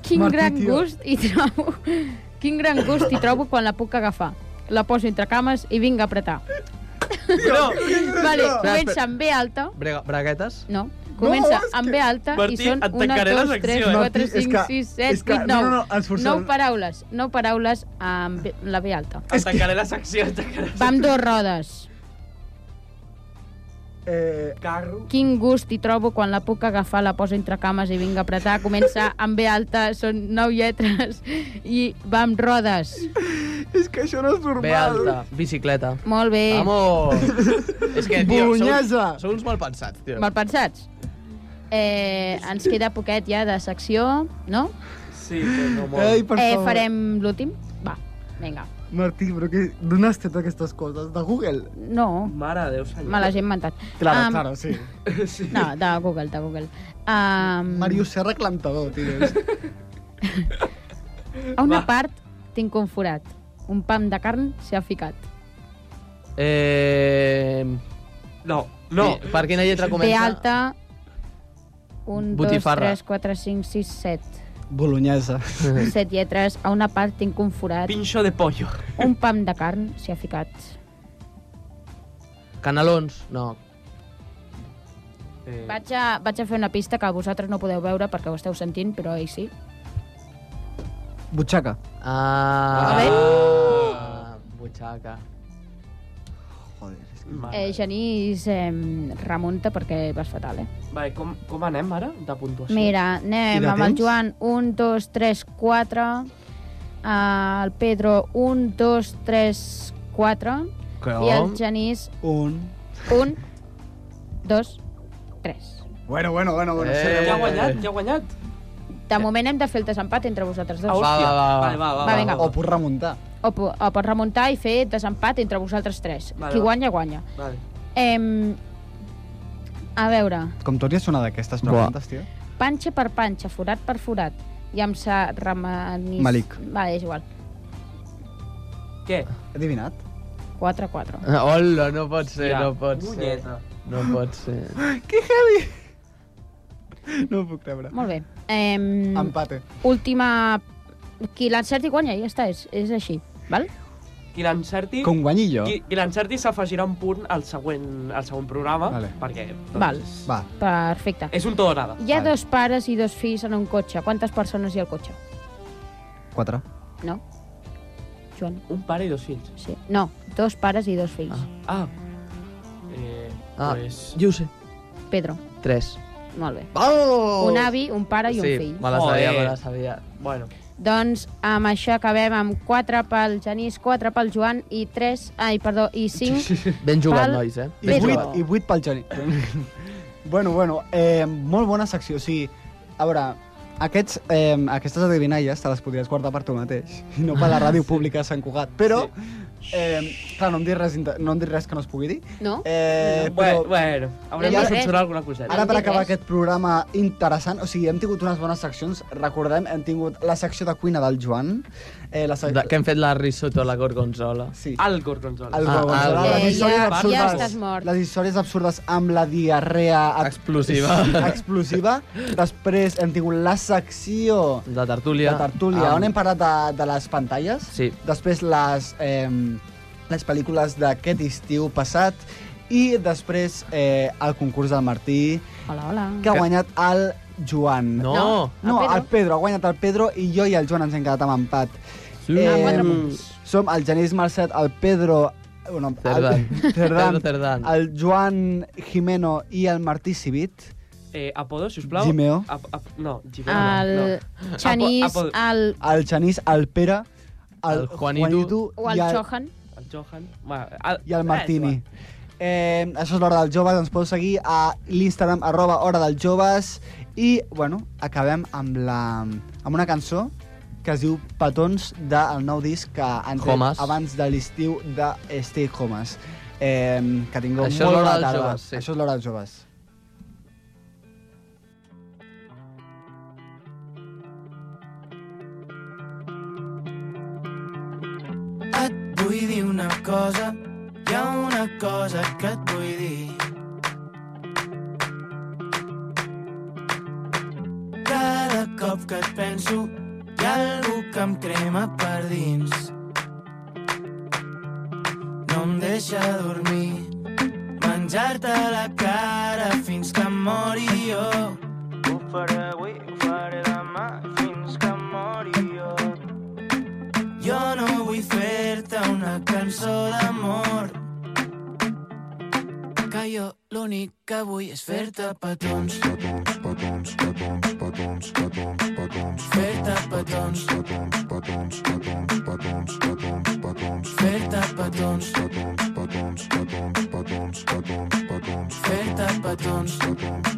S8: Quin
S5: Martí,
S8: gran
S5: tio.
S8: gust hi trobo... Quin gran gust hi trobo quan la puc agafar. La poso entre cames i vinc a apretar.
S6: No.
S8: Vale,
S6: espera.
S8: comença amb B alta.
S6: Brega, braguetes?
S8: No, comença
S5: és
S8: amb
S5: que-
S8: B alta
S7: Martí,
S8: i són
S7: et
S8: 1,
S7: tancaré la
S8: 2,
S7: secció,
S8: 3,
S7: eh?
S8: 4,
S5: Martí, és
S8: 5,
S5: que-
S8: 6,
S5: és
S8: 7,
S5: que-
S8: 8,
S5: no, no,
S8: 9.
S5: no, ens forçarà-
S8: 9 paraules, 9 paraules amb B- la B alta.
S5: Ah,
S7: Em tancaré la secció, em tancaré la
S8: Va amb dues rodes.
S5: Eh,
S7: Carro.
S8: Quin gust hi trobo quan la puc agafar, la poso entre cames i vinc a apretar. Comença amb B alta, són 9 lletres i va amb rodes.
S5: és que això no és normal.
S6: B alta. Bicicleta.
S8: Molt bé.
S6: Vamos! és que, tio,
S5: Bolognesa.
S6: sou, sou uns mal pensats, tio.
S8: Mal pensats. Eh, ens queda poquet ja de secció, no?
S7: Sí, però no molt.
S5: Ei, per
S8: Eh,
S5: favor.
S8: farem l'últim? Va, vinga.
S5: Martí, però que... D'on has tret aquestes coses? De Google?
S8: No,
S7: Mare de Déu, senyor.
S8: me les he inventat.
S5: Claro,
S8: Am,
S5: claro, sí.
S8: No, de Google, de Google. Um,
S5: Mario Serra Clantador, tio. És-
S8: A una
S7: Va.
S8: part tinc un forat. Un pam de carn s'hi ha ficat.
S6: Eh...
S7: No, no.
S6: Per quina lletra
S8: B
S6: comença?
S8: alta, 1, 2,
S6: Botifarra.
S8: 3, 4, 5, 6, 7.
S5: Boloñesa.
S8: 7 lletres. A una part tinc un forat.
S7: Pinxo de pollo.
S8: Un pam de carn s'hi ha ficat.
S6: Canelons, no. Eh,
S8: Vaig a, vaig a fer una pista que vosaltres no podeu veure perquè ho esteu sentint, però ell sí.
S5: Butxaca.
S6: Ah,
S8: A
S6: ah, butxaca.
S7: Ah,
S8: Eh, Genís, eh, remunta perquè vas fatal, eh?
S7: Vale, com, com anem ara, de puntuació?
S8: Mira,
S7: I
S8: anem
S7: de
S8: amb el
S7: temps?
S8: Joan, 1, 2, 3, 4. Ah, El Pedro, 1, 2, 3, 4.
S5: Com?
S8: I el Genís,
S5: Un.
S8: 1, 2, 3.
S5: Bueno, bueno, bueno, bueno.
S7: Eh. Ja ha guanyat, ja ha guanyat.
S5: Eh.
S8: De moment hem de fer el desempat entre vosaltres dos.
S5: Ah, hòstia. Va, va, va. Vale, va, va,
S8: va,
S5: va,
S8: vinga.
S5: va. O puc remuntar.
S8: O, pu- o pots remuntar i fer desempat entre vosaltres tres.
S5: Vale,
S8: Qui
S5: va.
S8: guanya, guanya.
S7: Vale.
S8: Em... A veure,
S5: Com torni a sonar d'aquestes preguntes, tio.
S8: panxa per panxa, forat per forat, i amb sa remenis...
S5: Malik.
S8: Vale, és igual.
S7: Què?
S5: Adivinat?
S8: 4-4.
S6: Hola, no pot ser,
S8: Hòstia,
S6: no pot ser.
S8: punyeta.
S6: No pot ser.
S5: Que heavy! No ho puc creure.
S8: Molt bé. Em...
S5: Empate.
S8: Última... Qui l'encerti guanya, ja està, és, és així. Val?
S7: Qui l'encerti...
S5: Com guanyi jo.
S7: Qui, qui l'encerti s'afegirà un punt al següent, al següent programa, vale. perquè... Doncs,
S8: Val.
S5: Va.
S8: Perfecte.
S7: És un tot o nada.
S8: Hi ha dos pares i dos fills en un cotxe. Quantes persones hi ha al cotxe?
S5: Quatre.
S8: No? Joan?
S7: Un pare i dos fills?
S8: Sí. No, dos pares i dos fills.
S7: Ah. Eh,
S6: Ah,
S7: pues...
S6: jo ho sé.
S8: Pedro,
S6: Tres.
S8: molt bé.
S5: Oh.
S6: Vamos!
S8: Un avi, un pare i un
S6: sí,
S8: fill.
S6: me la sabia,
S7: Joder.
S6: me la sabia.
S7: Bueno.
S8: Doncs amb això acabem amb 4 pel Genís, 4 pel Joan i 3... Ai, perdó, i 5...
S6: Ben jugat,
S8: Pel-
S6: nois, eh?
S5: I
S8: Ben
S5: vuit,
S8: jugat.
S5: i vuit pel Joni. bueno, bueno, eh, molt bona secció. O sigui, a veure, aquests, eh, aquestes adivinalles te les podries guardar per tu mateix, i no per la ràdio pública de Sant Cugat. Però, eh, clar, no em dir res, inte- no em dir res que no es pugui dir.
S8: No?
S5: Eh, però-
S7: Bueno, bueno, haurem
S5: I
S7: de
S5: ara-
S7: censurar alguna coseta.
S5: Ara per acabar aquest programa interessant, o sigui, hem tingut unes bones seccions, recordem, hem tingut la secció de cuina del Joan, eh, la
S6: De,
S5: secció...
S6: que hem fet la risotto a la gorgonzola.
S5: Sí.
S7: El gorgonzola.
S8: Ah,
S5: El Gorgonzola, les històries absurdes. Les històries absurdes amb la diarrea...
S6: Ah,
S5: ab-
S6: Explosiva.
S5: Sí, explosiva. Després hem tingut la secció...
S6: De Ah, tertúlia.
S5: De tertúlia,
S6: Amb-
S5: on hem parlat de, de les pantalles.
S6: Sí.
S5: Després les, eh, les pel·lícules d'aquest estiu passat. I després eh, el concurs del Martí,
S8: Hola, hola.
S5: que ha guanyat el Joan.
S6: No. No,
S5: no
S8: el Pedro.
S5: el Pedro. Ha guanyat el Pedro i jo i el Joan ens hem quedat amb empat.
S6: Sí. Ah, quatre punts.
S5: som el Genís Marcet, el Pedro... Bueno, el-
S6: Cerdán.
S5: Cerdán,
S6: Pedro Cerdán.
S5: el Joan Jimeno i el Martí Civit.
S7: Eh, apodo, sisplau.
S5: Gimeo.
S7: Ap, ap, no, Gimeo.
S8: El
S7: no.
S8: Genís,
S7: Apo- apo-
S8: el...
S5: El Genís, el Pere, el,
S6: El Juanito.
S8: o el
S5: i el,
S8: Johan.
S7: El Johan. Va, el,
S5: i el Martini. Eh, això és l'Hora dels Joves, ens podeu seguir a l'Instagram arroba Hora dels Joves i, bueno, acabem amb, la, amb una cançó que es diu Petons del nou disc que han tret
S6: Homes.
S5: abans de l'estiu de Stay Homes. Eh, que tingueu
S6: Això és
S5: molt
S6: l'Hora
S5: bona
S6: dels
S5: tarda.
S6: Joves, sí.
S5: Això és l'Hora dels Joves.
S13: Et vull dir una cosa, hi ha una cosa que et vull dir. Cada cop que et penso, hi ha algú que em crema per dins. No em deixa dormir, menjar-te la cara fins que em mori jo. Ho faré avui, ho faré demà, fins que em mori jo. Jo no vull fer-te una cançó d'amor. Que jo l'únic que vull és fer-te petons. Petons, petons, petons, petons, petons, petons. Fer-te petons. Petons, petons, petons, petons, petons, petons. Fer-te petons. Petons, petons, petons, petons, petons, petons. Fer-te petons. Petons,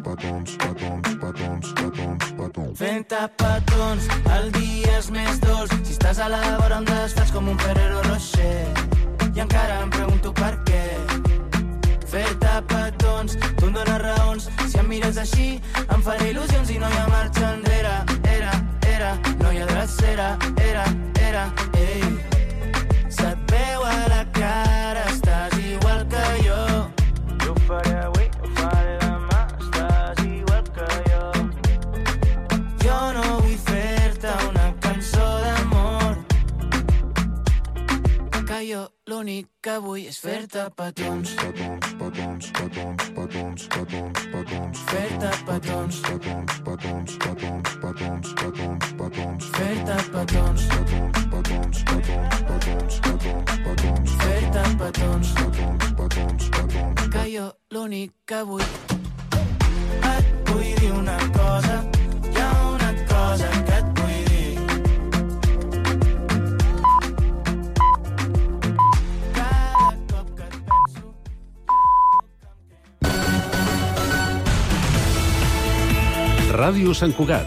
S13: petons, petons, petons, petons, petons. Fent-te petons, el dia és més dolç. Si estàs a la vora em desfas com un Ferrero Rocher. I encara em pregunto per què. Fer-te petons, tu em dones raons. Si em mires així, em faré il·lusions i no hi ha marxa enrere. Era, era, no hi ha drecera. Era, era, ei. Se't veu a la cara, estàs igual que jo. Jo ho faré avui, ho faré demà, estàs igual que jo. l'únic que vull és fer-te petons. Petons, petons, petons, petons, petons, petons. Fer-te petons. Petons, petons, petons, petons, petons, petons. Fer-te petons. Petons, petons, petons, petons, petons, petons. Fer-te petons. Petons, petons, petons. Que jo l'únic que vull... Et vull dir una cosa, hi ha una cosa que et vull dir.
S1: Ràdio Sant Cugat,